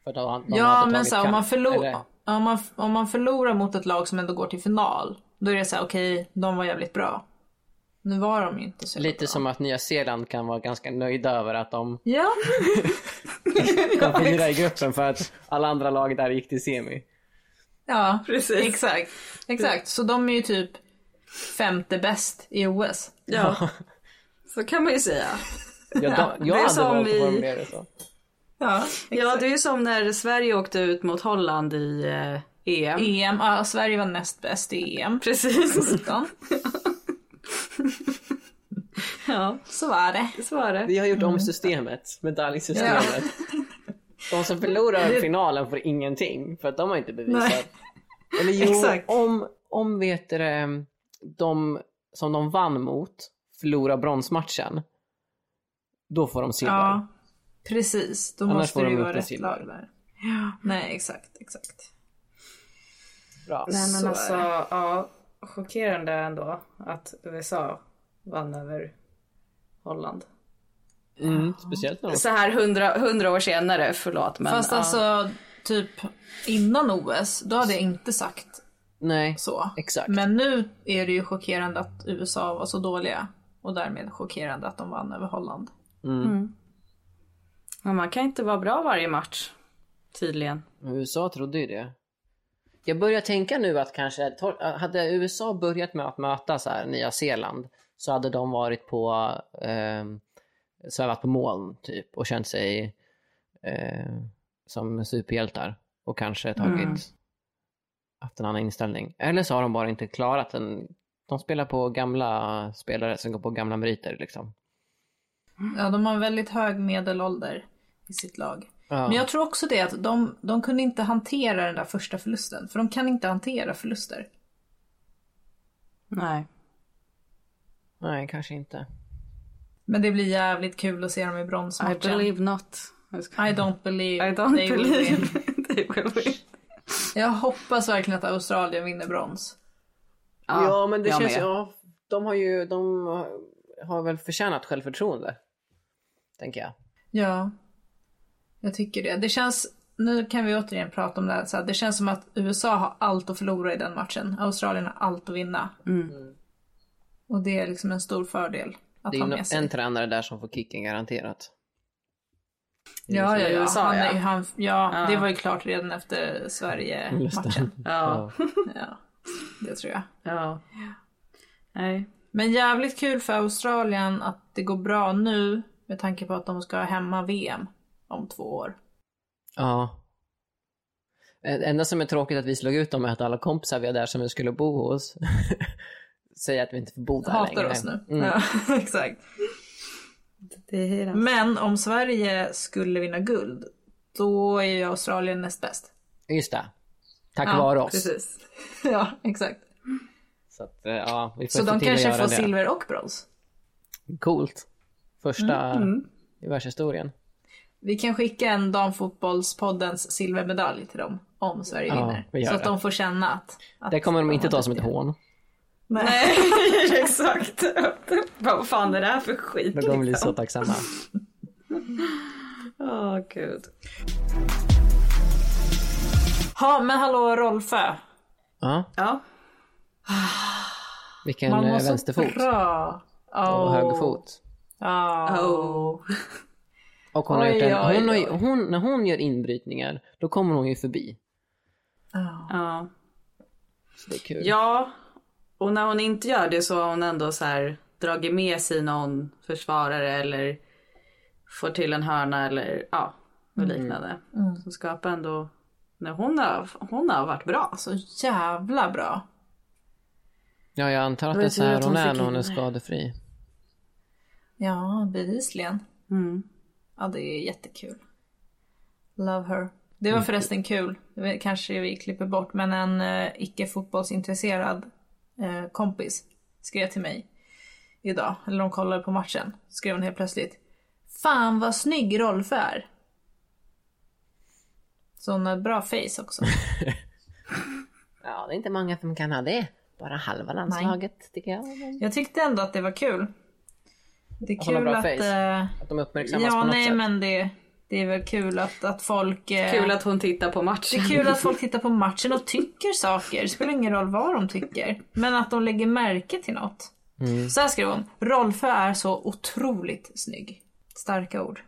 [SPEAKER 5] För att de, de
[SPEAKER 6] ja
[SPEAKER 5] hade
[SPEAKER 6] men
[SPEAKER 5] tagit
[SPEAKER 6] så här, om,
[SPEAKER 5] kamp,
[SPEAKER 6] man
[SPEAKER 5] eller-
[SPEAKER 6] förlor- om, man, om man förlorar mot ett lag som ändå går till final. Då är det så här: okej de var jävligt bra. Nu var de ju inte så jävla
[SPEAKER 5] Lite som att Nya Zeeland kan vara ganska nöjda över att de
[SPEAKER 6] bra.
[SPEAKER 5] <laughs>
[SPEAKER 6] Ja.
[SPEAKER 5] kom fyra i gruppen för att alla andra lag där gick till semi.
[SPEAKER 6] Ja,
[SPEAKER 7] Precis.
[SPEAKER 6] Exakt. Exakt. Så de är ju typ femte bäst i OS.
[SPEAKER 7] Ja. Så kan man ju säga.
[SPEAKER 5] Ja, de, jag
[SPEAKER 7] det är
[SPEAKER 5] hade
[SPEAKER 7] som
[SPEAKER 5] valt att
[SPEAKER 7] vi-
[SPEAKER 5] formulera det så.
[SPEAKER 6] Ja,
[SPEAKER 7] Ja det är ju som när Sverige åkte ut mot Holland i eh, EM.
[SPEAKER 6] EM, E ja, Sverige var näst bäst i E EM.
[SPEAKER 7] Precis.
[SPEAKER 6] 19.
[SPEAKER 7] <laughs> Ja,
[SPEAKER 6] Så var det.
[SPEAKER 7] så var det.
[SPEAKER 5] Vi har gjort
[SPEAKER 6] Mm.
[SPEAKER 5] om systemet, medaljsystemet. De som förlorar finalen får ingenting för att de har inte bevisat.
[SPEAKER 6] Nej.
[SPEAKER 5] Eller jo,
[SPEAKER 6] Exakt.
[SPEAKER 5] om, om vet du, det, de som de vann mot förlorar bronsmatchen. Då får de silver.
[SPEAKER 6] Ja, precis. Då
[SPEAKER 5] Annars
[SPEAKER 6] måste
[SPEAKER 5] får
[SPEAKER 6] det
[SPEAKER 5] de
[SPEAKER 6] ju
[SPEAKER 5] inte
[SPEAKER 6] vara rätt
[SPEAKER 5] silver.
[SPEAKER 6] lag där. Ja. Nej, exakt, exakt.
[SPEAKER 5] Bra.
[SPEAKER 7] Nej men
[SPEAKER 6] Så är
[SPEAKER 7] alltså,
[SPEAKER 6] det.
[SPEAKER 7] ja. Chockerande ändå att USA vann över Holland.
[SPEAKER 5] Mm, speciellt när de...
[SPEAKER 7] Så här hundra, hundra år senare, förlåt men.
[SPEAKER 6] Fast
[SPEAKER 7] ja.
[SPEAKER 6] alltså, typ innan OS, då hade jag inte sagt
[SPEAKER 5] Nej,
[SPEAKER 6] så.
[SPEAKER 5] exakt.
[SPEAKER 6] Men nu är det ju chockerande att USA var så dåliga. Och därmed chockerande att de vann över Holland.
[SPEAKER 5] Mm.
[SPEAKER 7] Men man kan inte vara bra varje match. Tydligen.
[SPEAKER 5] Men USA trodde ju det. Jag börjar tänka nu att kanske, tor- hade USA börjat med att möta så här, Nya Zeeland så hade de varit på, eh, svävat på moln typ och känt sig eh, som superhjältar och kanske tagit, haft en annan inställning. Eller så har de bara inte klarat den. De spelar på gamla spelare som går på gamla meriter liksom.
[SPEAKER 6] Ja, de har en väldigt hög medelålder i sitt lag.
[SPEAKER 5] Ja.
[SPEAKER 6] Men jag tror också det att de, de kunde inte hantera den där första förlusten. För de kan inte hantera förluster.
[SPEAKER 7] Nej.
[SPEAKER 5] Nej, kanske inte.
[SPEAKER 6] Men det blir jävligt kul att se dem i
[SPEAKER 7] I
[SPEAKER 6] bronsmatchen.
[SPEAKER 7] believe not.
[SPEAKER 6] I don't believe.
[SPEAKER 7] I don't
[SPEAKER 6] they will
[SPEAKER 7] believe.
[SPEAKER 6] win.
[SPEAKER 7] <laughs> They will win.
[SPEAKER 6] Jag hoppas verkligen att Australien vinner brons.
[SPEAKER 5] Ja, men det
[SPEAKER 7] jag
[SPEAKER 5] känns ju,
[SPEAKER 7] med.
[SPEAKER 5] ja, de har ju, de har väl förtjänat självförtroende. Tänker jag.
[SPEAKER 6] Ja, jag tycker det. Det känns, nu kan vi återigen prata om det här, så här, det känns som att USA har allt att förlora i den matchen. Australien har allt att vinna. Mm. Och det är liksom en stor fördel att
[SPEAKER 5] Det är
[SPEAKER 6] ha
[SPEAKER 5] ju
[SPEAKER 6] med
[SPEAKER 5] no-
[SPEAKER 6] sig.
[SPEAKER 5] en tränare där som får kicken garanterat.
[SPEAKER 6] Ja, ja, ja.
[SPEAKER 7] USA,
[SPEAKER 6] han,
[SPEAKER 7] ja.
[SPEAKER 6] är- Han, ja,
[SPEAKER 7] Ja.
[SPEAKER 6] det var ju klart redan efter Sverige-matchen.
[SPEAKER 7] Ja.
[SPEAKER 6] Ja, det tror jag.
[SPEAKER 7] Ja. Nej. <laughs>
[SPEAKER 6] Men jävligt kul för Australien att det går bra nu med tanke på att de ska ha hemma-VM om två år.
[SPEAKER 5] Ja. Det enda som är tråkigt att vi slog ut dem är att alla kompisar vi har där som vi skulle bo hos <laughs> säger att vi inte får bo där
[SPEAKER 6] Hatar
[SPEAKER 5] längre.
[SPEAKER 6] oss nu.
[SPEAKER 5] Mm.
[SPEAKER 6] Ja, <laughs> exakt. Men om Sverige skulle vinna guld, då är ju Australien näst bäst.
[SPEAKER 5] Just det. Tack
[SPEAKER 6] Ja,
[SPEAKER 5] vare oss.
[SPEAKER 6] Precis. <laughs> Ja, exakt.
[SPEAKER 5] Så, att, eh, ja, vi får
[SPEAKER 6] Så
[SPEAKER 5] se
[SPEAKER 6] de
[SPEAKER 5] till att
[SPEAKER 6] kanske
[SPEAKER 5] göra
[SPEAKER 6] får
[SPEAKER 5] det.
[SPEAKER 6] silver och brons.
[SPEAKER 5] Coolt. Första
[SPEAKER 6] Mm,
[SPEAKER 5] i världshistorien.
[SPEAKER 6] Vi kan skicka en damfotbollspoddens silvermedalj till dem om Sverige
[SPEAKER 5] Ja, vi
[SPEAKER 6] vinner.
[SPEAKER 5] gör
[SPEAKER 6] Så att
[SPEAKER 5] det.
[SPEAKER 6] de får känna att... att
[SPEAKER 5] Det kommer de inte
[SPEAKER 6] har
[SPEAKER 5] ta som ett
[SPEAKER 6] duktiga.
[SPEAKER 5] hån.
[SPEAKER 6] <laughs>
[SPEAKER 7] Nej, exakt. Vad fan är det här för skit?
[SPEAKER 5] Men de blir så tacksamma.
[SPEAKER 7] Åh gud.
[SPEAKER 6] Ja, men hallå Rolfö.
[SPEAKER 5] Ja.
[SPEAKER 7] Ja.
[SPEAKER 5] Vilken
[SPEAKER 6] Man mår
[SPEAKER 5] eh,
[SPEAKER 6] så
[SPEAKER 5] vänsterfot
[SPEAKER 6] bra.
[SPEAKER 5] och
[SPEAKER 6] Oh.
[SPEAKER 5] högerfot.
[SPEAKER 6] Ja.
[SPEAKER 7] Oh.
[SPEAKER 5] Och hon har
[SPEAKER 6] Oj,
[SPEAKER 5] gjort en,
[SPEAKER 6] oj,
[SPEAKER 5] hon har, ju-
[SPEAKER 6] oj.
[SPEAKER 5] hon, när hon gör inbrytningar, då kommer hon ju förbi.
[SPEAKER 6] Ja.
[SPEAKER 7] Ja.
[SPEAKER 5] Så det är kul.
[SPEAKER 7] Ja, och när hon inte gör det så har hon ändå så här dragit med sig någon försvarare eller får till en hörna eller ja, och liknande. Så skapar ändå, när hon har, hon har varit bra.
[SPEAKER 6] Så jävla bra.
[SPEAKER 5] Ja, jag antar att
[SPEAKER 7] Det
[SPEAKER 5] det
[SPEAKER 7] var
[SPEAKER 5] är
[SPEAKER 7] ju
[SPEAKER 5] så
[SPEAKER 7] tur
[SPEAKER 5] här
[SPEAKER 7] att
[SPEAKER 5] hon
[SPEAKER 7] hon
[SPEAKER 5] är
[SPEAKER 7] fick
[SPEAKER 5] när hon är
[SPEAKER 7] in-
[SPEAKER 5] skadefri.
[SPEAKER 6] Ja, bevisligen.
[SPEAKER 7] Mm.
[SPEAKER 6] Ja, det är jättekul. Love her. Det var förresten kul, Det var- kanske vi klipper bort, men en eh, icke fotbollsintresserad eh, kompis skrev till mig idag, eller de kollade på matchen, skrev hon helt plötsligt Fan vad snygg Rolf är! Så hon har ett bra face också.
[SPEAKER 5] Ja, det är inte många som kan ha det. Bara halva landslaget tycker jag.
[SPEAKER 6] Jag tyckte ändå att det var kul. Det är
[SPEAKER 5] Att hon har
[SPEAKER 6] kul
[SPEAKER 5] bra
[SPEAKER 6] att...
[SPEAKER 5] face.
[SPEAKER 6] eh,
[SPEAKER 5] Att de uppmärksammas
[SPEAKER 6] ja,
[SPEAKER 5] på något
[SPEAKER 6] nej
[SPEAKER 5] sätt.
[SPEAKER 6] men det, det är väl kul att, att folk... eh,
[SPEAKER 7] Kul att hon tittar på
[SPEAKER 6] Det
[SPEAKER 7] matchen.
[SPEAKER 6] är kul att folk tittar på matchen och tycker saker. Det spelar ingen roll vad de tycker. Men att de lägger märke till något.
[SPEAKER 5] Mm.
[SPEAKER 6] Så här skrev hon. Rolfö är så otroligt snygg. Starka ord.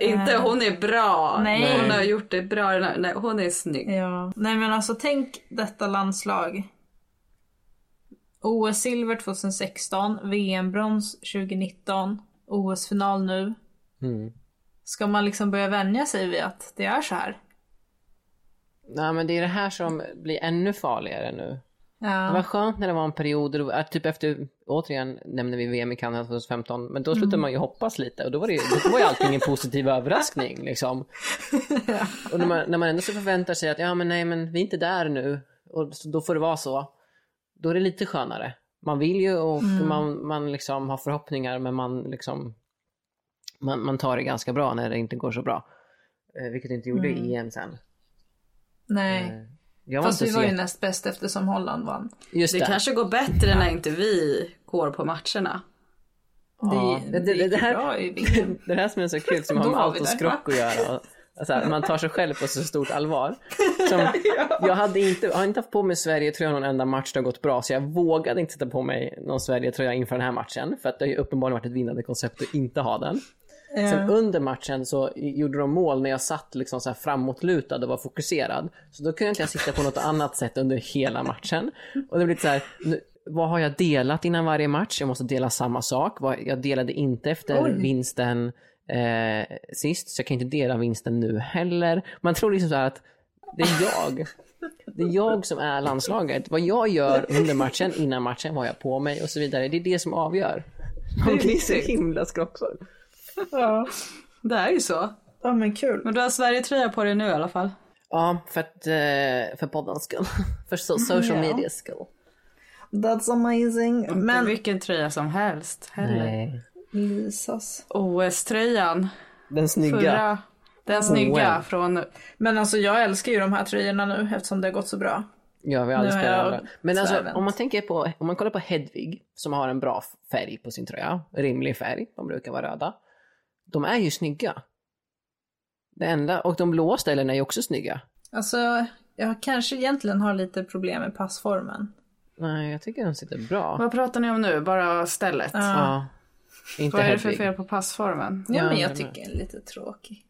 [SPEAKER 7] Inte hon är bra.
[SPEAKER 6] Nej. Eh,
[SPEAKER 7] Hon har gjort det bra. den här- Nej, hon är snygg.
[SPEAKER 6] Ja. Nej men alltså tänk detta landslag. OS-silver 2016, VM-brons 2019, OS-final nu.
[SPEAKER 5] Mm.
[SPEAKER 6] Ska man liksom börja vänja sig vid att det är så här?
[SPEAKER 5] Nej, men det är det här som blir ännu farligare nu. Det var
[SPEAKER 6] Ja.
[SPEAKER 5] skönt när det var en period, då- att typ efter, återigen nämner vi VM i Kanada 2015, men då
[SPEAKER 6] Mm.
[SPEAKER 5] slutade man ju hoppas lite och då var, det, då var ju allting en positiv överraskning
[SPEAKER 6] <laughs>
[SPEAKER 5] liksom. Och när man, när man ändå så förväntar sig att ja men nej men vi är inte där nu och så, då får det vara så, då är det lite skönare. man vill ju och
[SPEAKER 6] Mm.
[SPEAKER 5] man, man liksom har förhoppningar men man liksom man, man tar det ganska bra när det inte går så bra. Eh, vilket det inte gjorde i EM sen.
[SPEAKER 6] Nej.
[SPEAKER 5] Jag var
[SPEAKER 6] Mm. Fast
[SPEAKER 5] inte
[SPEAKER 6] vi
[SPEAKER 5] så
[SPEAKER 6] var ju
[SPEAKER 5] jätte-
[SPEAKER 6] näst bäst eftersom Holland vann.
[SPEAKER 5] Just
[SPEAKER 7] Det
[SPEAKER 5] det.
[SPEAKER 7] kanske går bättre när inte vi går på matterna.
[SPEAKER 6] Det,
[SPEAKER 5] Ja.
[SPEAKER 6] det,
[SPEAKER 5] Det- det- det
[SPEAKER 6] gick
[SPEAKER 5] här-
[SPEAKER 6] bra i VM.
[SPEAKER 5] <laughs> Det här som är så kul som har
[SPEAKER 6] Då
[SPEAKER 5] med
[SPEAKER 6] var vi
[SPEAKER 5] allt och
[SPEAKER 6] där,
[SPEAKER 5] skrock att göra. Och, så här, man tar sig själv på så stort
[SPEAKER 6] <laughs>
[SPEAKER 5] allvar. Som, jag hade inte, jag har inte haft på mig Sverige-tröja någon enda match det har gått bra så jag vågade inte sätta på mig någon Sverige-tröja inför den här matchen för att det har ju uppenbarligen varit ett vinnande koncept att inte ha den. Sen under matchen så gjorde de mål när jag satt liksom så här framåtlutad och var fokuserad. Så då kunde inte jag sitta på något annat sätt under hela matchen. Och det blev lite så här, nu, vad har jag delat innan varje match? Jag måste dela samma sak. Vad- Jag delade inte efter vinsten eh, sist, så jag kan inte dela vinsten nu heller. Man tror liksom så här att det är jag. Det är jag som är landslaget. Vad jag gör under matchen, innan matchen, vad har jag på mig och så vidare. Det är det som avgör. Man blir så himla skrockfull.
[SPEAKER 6] Ja.
[SPEAKER 7] Det är ju så.
[SPEAKER 6] <laughs> ja men kul.
[SPEAKER 7] Men du har Sverige-tröja på dig nu i alla fall.
[SPEAKER 5] Ja, för, att, eh, för poddens skull. <laughs> För so- social medias skull.
[SPEAKER 6] That's amazing.
[SPEAKER 7] Men...
[SPEAKER 6] Men
[SPEAKER 7] Vilken tröja som helst. Heller.
[SPEAKER 5] Nej.
[SPEAKER 6] Lisas.
[SPEAKER 7] OS-tröjan.
[SPEAKER 5] Den snygga. Oh,
[SPEAKER 7] Förra. Den snygga
[SPEAKER 5] well.
[SPEAKER 7] från...
[SPEAKER 6] Men alltså jag älskar ju de här tröjorna nu eftersom det har gått så bra.
[SPEAKER 5] Ja, vi har aldrig
[SPEAKER 6] Nu har
[SPEAKER 5] spelat
[SPEAKER 6] jag
[SPEAKER 5] alla. Men alltså,
[SPEAKER 6] tvärvänt.
[SPEAKER 5] om man tänker på, om man kollar på Hedvig som har en bra f- färg på sin tröja, rimlig färg, de brukar vara röda. De är ju snygga. Det enda, och de blåa ställena är ju också snygga.
[SPEAKER 6] Alltså jag kanske egentligen har lite problem med passformen.
[SPEAKER 5] Nej, jag tycker de sitter bra.
[SPEAKER 7] Vad pratar ni om nu? Bara stället?
[SPEAKER 6] Ja.
[SPEAKER 5] Ja. Inte
[SPEAKER 7] Vad är det för
[SPEAKER 5] Hedvig.
[SPEAKER 7] fel på passformen?
[SPEAKER 6] Ja,
[SPEAKER 5] Ja,
[SPEAKER 6] men
[SPEAKER 5] men-
[SPEAKER 6] jag tycker den är lite tråkig.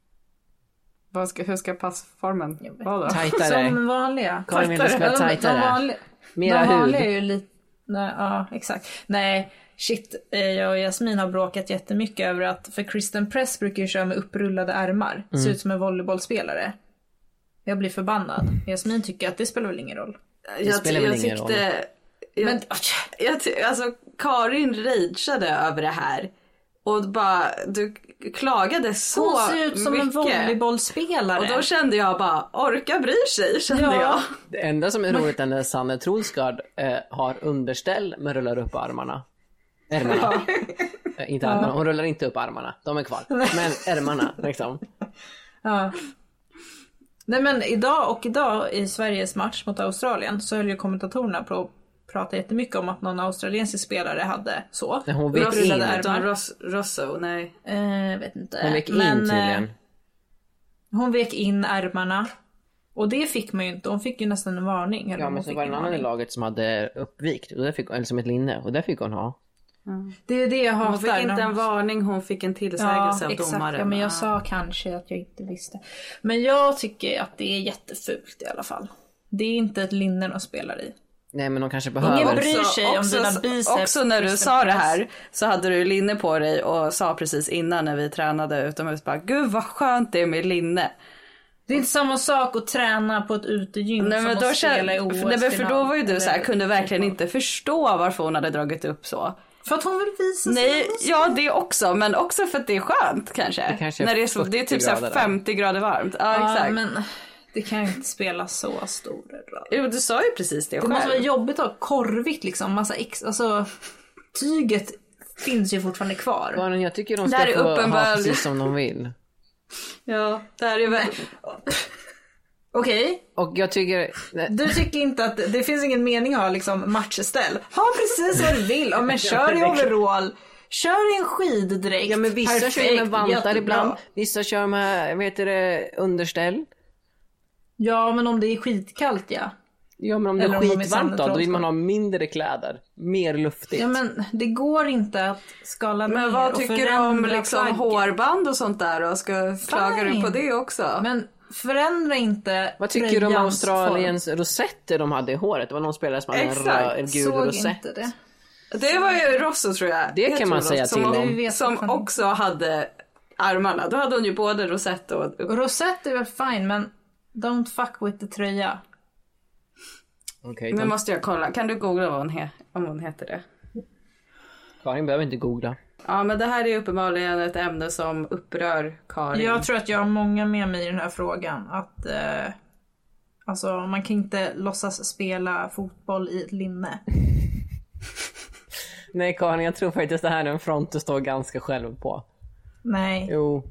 [SPEAKER 7] Vad ska, hur ska passformen
[SPEAKER 6] Jag vet
[SPEAKER 7] vara då? <laughs>
[SPEAKER 5] Tajtare.
[SPEAKER 6] Som vanliga.
[SPEAKER 5] Karin vill att det ska vara
[SPEAKER 6] De-
[SPEAKER 5] tajtare.
[SPEAKER 6] De, vanliga,
[SPEAKER 5] Mera
[SPEAKER 6] de vanliga
[SPEAKER 5] hud.
[SPEAKER 6] är ju lite... Nej, ja, exakt. Nej, shit. eh, Jag och Jasmin har bråkat jättemycket över att, för Kristen Press brukar ju köra med upprullade ärmar.
[SPEAKER 5] Mm.
[SPEAKER 6] Ser ut som en volleybollspelare. Jag blir förbannad. Jasmin tycker att det spelar väl ingen roll.
[SPEAKER 7] Jag,
[SPEAKER 5] spelar väl
[SPEAKER 7] jag
[SPEAKER 5] ingen roll.
[SPEAKER 7] tyckte... Jag,
[SPEAKER 6] Men
[SPEAKER 7] jag, ty- alltså Karin rageade över det här. Och bara, du klagade så
[SPEAKER 6] hon ser ut som en
[SPEAKER 7] mycket.
[SPEAKER 6] volleybollspelare.
[SPEAKER 7] Och då kände jag bara, orka bryr sig kände
[SPEAKER 6] Ja.
[SPEAKER 7] jag.
[SPEAKER 5] Det enda som är roligt är när Sanne Trolsgard eh, har underställ men rullar upp armarna. Ärmarna. Eh, inte armarna, hon rullar inte upp armarna. De är kvar. Men ärmarna liksom.
[SPEAKER 6] Ja. Nej men idag och idag i Sveriges match mot Australien så höll ju kommentatorerna på att prata jättemycket om att någon australiensisk spelare hade så.
[SPEAKER 5] Nej, hon vek in.
[SPEAKER 6] Rullade
[SPEAKER 7] Utan
[SPEAKER 6] ärmar.
[SPEAKER 7] Ros- Rosso, nej.
[SPEAKER 6] Eh, vet inte.
[SPEAKER 5] Hon gick in
[SPEAKER 6] Men, eh,
[SPEAKER 5] tydligen.
[SPEAKER 6] Hon vek in ärmarna. Och det fick man ju inte. Hon fick ju nästan en varning. eller
[SPEAKER 5] Ja
[SPEAKER 6] hon
[SPEAKER 5] men så
[SPEAKER 6] fick
[SPEAKER 5] var det en
[SPEAKER 6] en
[SPEAKER 5] annan i
[SPEAKER 6] varning.
[SPEAKER 5] laget som hade uppvikt, och där fick, eller som ett linne, och där fick hon ha.
[SPEAKER 6] Det är det jag hatar.
[SPEAKER 7] Hon fick
[SPEAKER 6] när
[SPEAKER 7] inte
[SPEAKER 6] hon-
[SPEAKER 7] en varning, hon fick en
[SPEAKER 6] Ja,
[SPEAKER 7] tillsägelse av
[SPEAKER 6] exakt.
[SPEAKER 7] domaren. Ah.
[SPEAKER 6] Ja, men jag sa kanske att jag inte visste. Men jag tycker att det är jättefult i alla fall. Det är inte ett linne de spelar i.
[SPEAKER 5] Nej men hon kanske
[SPEAKER 6] Ingen
[SPEAKER 5] behöver.
[SPEAKER 6] bryr sig om dina biceps,
[SPEAKER 7] Alltså, Också när du
[SPEAKER 6] Kristen
[SPEAKER 7] sa det
[SPEAKER 6] Press.
[SPEAKER 7] här så hade du linne på dig och sa precis innan när vi tränade utomhus bara, gud vad skönt det är med linne.
[SPEAKER 6] Det är inte samma sak att träna på ett utegym Mm,
[SPEAKER 7] Nej,
[SPEAKER 6] som
[SPEAKER 7] men
[SPEAKER 6] att
[SPEAKER 7] då
[SPEAKER 6] spela i
[SPEAKER 7] kände,
[SPEAKER 6] OS.
[SPEAKER 7] nej, men för då var ju du
[SPEAKER 6] eller-
[SPEAKER 7] så här, kunde verkligen inte förstå varför hon hade dragit upp så.
[SPEAKER 6] För att hon vill visa
[SPEAKER 7] Nej,
[SPEAKER 6] sig.
[SPEAKER 7] ja det också, men också för att det är skönt kanske.
[SPEAKER 5] kanske är
[SPEAKER 7] När det, är så, det är
[SPEAKER 5] 40
[SPEAKER 7] typ så här
[SPEAKER 5] grader där.
[SPEAKER 7] 50 grader varmt. Ja,
[SPEAKER 6] Ja,
[SPEAKER 7] exakt.
[SPEAKER 6] men det kan ju inte spela så stor roll.
[SPEAKER 7] Jo, du sa ju precis det,
[SPEAKER 6] Det måste vara
[SPEAKER 7] själv.
[SPEAKER 6] jobbigt att ha korvigt liksom. Massa ex, alltså, tyget finns ju fortfarande kvar.
[SPEAKER 5] Barnen, jag tycker de
[SPEAKER 7] här
[SPEAKER 5] ska
[SPEAKER 7] är
[SPEAKER 5] få ha
[SPEAKER 7] uppenbar-
[SPEAKER 5] precis som de vill.
[SPEAKER 7] Ja, det här är väl...
[SPEAKER 6] Okej,
[SPEAKER 5] Och jag tycker, nej,
[SPEAKER 6] du tycker inte att det finns ingen mening att ha liksom, matchställ. Ha precis vad du vill,
[SPEAKER 5] <laughs>
[SPEAKER 6] ja, men kör i overall. Kör i en skiddräkt.
[SPEAKER 5] Ja men vissa kör ju med
[SPEAKER 6] Perfekt,
[SPEAKER 5] vantar
[SPEAKER 6] jättebra.
[SPEAKER 5] ibland, vissa kör med, vad heter det, underställ.
[SPEAKER 6] Ja men om det är skitkallt ja.
[SPEAKER 5] Ja men om det
[SPEAKER 6] Eller
[SPEAKER 5] är
[SPEAKER 6] om de är
[SPEAKER 5] skitvarmt då, då vill
[SPEAKER 6] sandtrollskor.
[SPEAKER 5] man ha mindre kläder. Mer luftigt.
[SPEAKER 6] Ja men det går inte att skala ner
[SPEAKER 7] Men vad
[SPEAKER 6] och
[SPEAKER 7] tycker du om
[SPEAKER 6] förändra
[SPEAKER 7] liksom
[SPEAKER 6] plaggen.
[SPEAKER 7] hårband och sånt där och ska, klagar du på
[SPEAKER 6] Fine.
[SPEAKER 7] det också?
[SPEAKER 6] Men förändra inte
[SPEAKER 5] Vad tycker du om
[SPEAKER 6] tröjans
[SPEAKER 5] Australiens rosetter de hade i håret? Det var någon spelare som hade en
[SPEAKER 7] Exakt,
[SPEAKER 5] röd, en
[SPEAKER 6] form.
[SPEAKER 5] gul
[SPEAKER 6] Såg
[SPEAKER 5] rosett.
[SPEAKER 6] inte det.
[SPEAKER 7] Det var ju Rosso tror jag.
[SPEAKER 5] Det
[SPEAKER 7] Jag
[SPEAKER 5] kan
[SPEAKER 7] tror
[SPEAKER 5] man säga
[SPEAKER 7] som,
[SPEAKER 5] till om.
[SPEAKER 6] Vi vet
[SPEAKER 7] Som
[SPEAKER 6] fortfarande.
[SPEAKER 7] också hade armarna. Då hade hon ju både rosett och...
[SPEAKER 6] Och Rosett är väl fine men don't fuck with the tröja.
[SPEAKER 5] Okej,
[SPEAKER 7] Nu
[SPEAKER 5] de-
[SPEAKER 7] måste jag kolla. Kan du googla vad hon he- om hon heter det?
[SPEAKER 5] Karin behöver inte googla.
[SPEAKER 7] Ja men det här är uppenbarligen ett ämne som upprör Karin.
[SPEAKER 6] Jag tror att jag har många med mig i den här frågan att eh, Alltså man kan inte låtsas spela fotboll i ett linne.
[SPEAKER 5] Nej Karin, jag tror faktiskt det här är en front du står ganska själv på.
[SPEAKER 6] Nej,
[SPEAKER 5] Jo,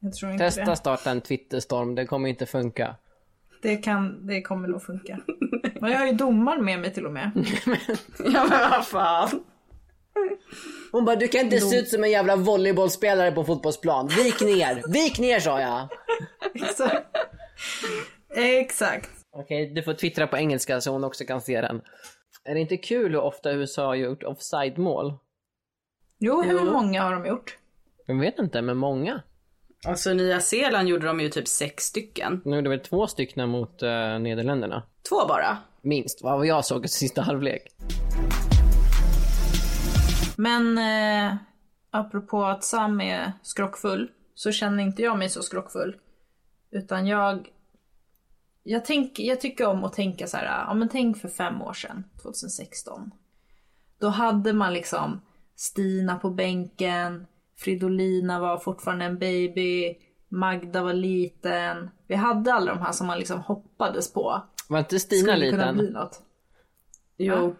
[SPEAKER 6] jag tror inte
[SPEAKER 5] testa starta en Twitterstorm, det kommer inte funka.
[SPEAKER 6] det. Det, kan, det kommer nog funka. Men jag har ju domaren med mig till och med.
[SPEAKER 7] <laughs> Ja men vad fan.
[SPEAKER 5] Hon bara, du kan inte se ut som en jävla volleybollspelare på fotbollsplan. Vik ner! Vik ner sa jag!
[SPEAKER 6] Exakt. Exakt.
[SPEAKER 5] Okej, du får twittra på engelska så hon också kan se den. Är det inte kul hur ofta USA har gjort offside-mål?
[SPEAKER 6] Jo, hur många har de gjort?
[SPEAKER 5] Jag vet inte, men många.
[SPEAKER 7] Alltså Nya Zeeland gjorde de ju typ sex stycken.
[SPEAKER 5] Nu är det väl två stycken mot eh, Nederländerna.
[SPEAKER 7] Två bara.
[SPEAKER 5] Minst, vad jag såg i sista halvlek.
[SPEAKER 6] Men eh, apropå att Sam är skrockfull så känner inte jag mig så skrockfull. Utan jag, jag, tänk, jag tycker om att tänka så här, ja men tänk för fem år sedan, 2016. Då hade man liksom Stina på bänken, Fridolina var fortfarande en baby, Magda var liten. Vi hade alla de här som man liksom hoppades på.
[SPEAKER 5] Var inte Stina
[SPEAKER 6] Skulle kunna bli
[SPEAKER 5] liten?
[SPEAKER 6] något.
[SPEAKER 7] Jo.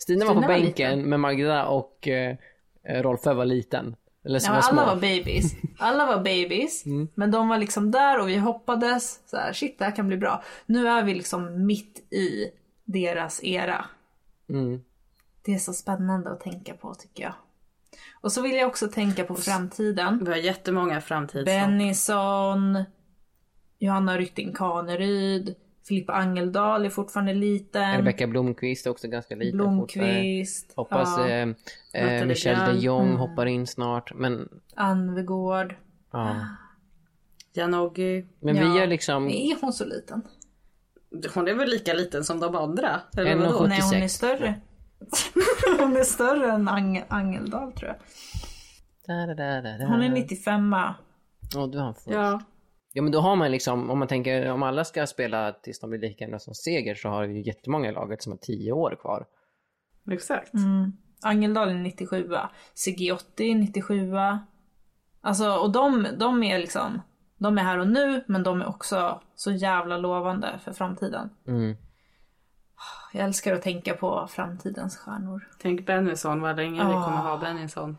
[SPEAKER 5] Stina var på
[SPEAKER 6] Stina var
[SPEAKER 5] bänken, men Magda och eh, Rolfö var liten. Eller
[SPEAKER 6] Ja,
[SPEAKER 5] som
[SPEAKER 6] men
[SPEAKER 5] var små. Mm.
[SPEAKER 6] alla var babies. Alla var
[SPEAKER 5] <laughs>
[SPEAKER 6] babies. Men de var liksom där och vi hoppades. Så här, Shit, det här kan bli bra. Nu är vi liksom mitt i deras era.
[SPEAKER 5] Mm.
[SPEAKER 6] Det är så spännande att tänka på tycker jag. Och så vill jag också tänka på framtiden.
[SPEAKER 7] Vi har jättemånga framtidshopp.
[SPEAKER 6] Bennison, Johanna Rytting Kaneryd, Filippa Angeldal är fortfarande liten.
[SPEAKER 5] Rebecka Blomqvist är också ganska liten fortfarande.
[SPEAKER 6] Blomqvist,
[SPEAKER 5] Hoppas
[SPEAKER 6] ja, Mm.
[SPEAKER 5] eh, eh,
[SPEAKER 7] Nathalie
[SPEAKER 5] Michelle de
[SPEAKER 7] Björn.
[SPEAKER 5] Jong hoppar in snart. Men,
[SPEAKER 6] Anvegård.
[SPEAKER 5] ja.
[SPEAKER 7] Janogy.
[SPEAKER 5] men
[SPEAKER 6] Ah, Ja.
[SPEAKER 5] vi är liksom...
[SPEAKER 6] Är hon så liten?
[SPEAKER 7] Hon är väl lika liten som de andra? Eller
[SPEAKER 5] En och
[SPEAKER 7] vadå?
[SPEAKER 5] sju-
[SPEAKER 6] Nej, hon är
[SPEAKER 5] 76.
[SPEAKER 6] större. <laughs> hon är större än Ang- Angeldal tror jag.
[SPEAKER 5] Da, da, da, da, da.
[SPEAKER 6] Hon är 95
[SPEAKER 5] Åh, du har en fot.
[SPEAKER 7] Ja.
[SPEAKER 5] Ja men då har man liksom, om man tänker om alla ska spela tills de blir lika gamla som Seger så har vi ju jättemånga i laget som har 10 år kvar.
[SPEAKER 7] Exakt.
[SPEAKER 6] Mm. Angeldal är 97 Sigiotti är 97 Alltså, och de, de är liksom, de är här och nu, men de är också så jävla lovande för framtiden.
[SPEAKER 5] Mm.
[SPEAKER 6] Jag älskar att tänka på framtidens stjärnor.
[SPEAKER 7] Tänk Bennison vad länge vi kommer ha Bennison.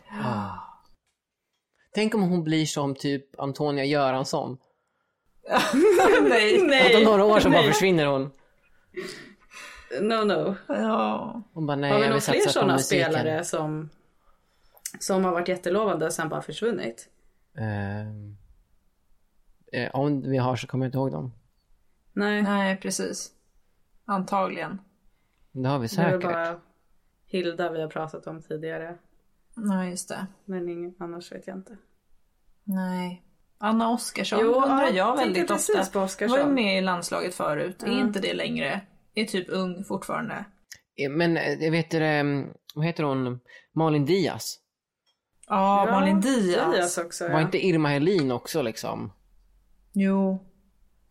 [SPEAKER 5] Tänk om hon blir som typ Antonia Göransson.
[SPEAKER 6] Nej!
[SPEAKER 5] Att om några år så bara försvinner hon.
[SPEAKER 7] No no.
[SPEAKER 6] Ja.
[SPEAKER 5] Hon bara nej
[SPEAKER 7] Har vi
[SPEAKER 5] jag
[SPEAKER 7] några
[SPEAKER 5] vill
[SPEAKER 7] fler
[SPEAKER 5] satsa på
[SPEAKER 7] sådana
[SPEAKER 5] musiken.
[SPEAKER 7] spelare som, som har varit jättelovande och sen bara försvunnit?
[SPEAKER 5] Ehm, eh, om vi har så kommer jag inte ihåg dem.
[SPEAKER 7] Nej,
[SPEAKER 6] Nej, precis. Antagligen.
[SPEAKER 5] Det har vi
[SPEAKER 7] det är väl
[SPEAKER 5] säkert.
[SPEAKER 7] bara Hilda vi har pratat om tidigare.
[SPEAKER 6] Ja, just det.
[SPEAKER 7] Men ingen, annars vet jag inte.
[SPEAKER 6] Nej. Anna Oskarsson
[SPEAKER 7] Jo,
[SPEAKER 6] undrar
[SPEAKER 7] ja,
[SPEAKER 6] jag
[SPEAKER 7] tänkte
[SPEAKER 6] väldigt
[SPEAKER 7] precis
[SPEAKER 6] ofta.
[SPEAKER 7] på Oskarsson.
[SPEAKER 6] var ju med i landslaget förut, är inte det längre. Är typ ung fortfarande.
[SPEAKER 5] Eh, Men eh, jag vet du det, ehm, vad heter hon, Malin Diaz.
[SPEAKER 6] Ja, Malin Diaz.
[SPEAKER 7] Diaz också
[SPEAKER 5] Var
[SPEAKER 7] ja.
[SPEAKER 5] inte Irma Helin också liksom?
[SPEAKER 6] Jo.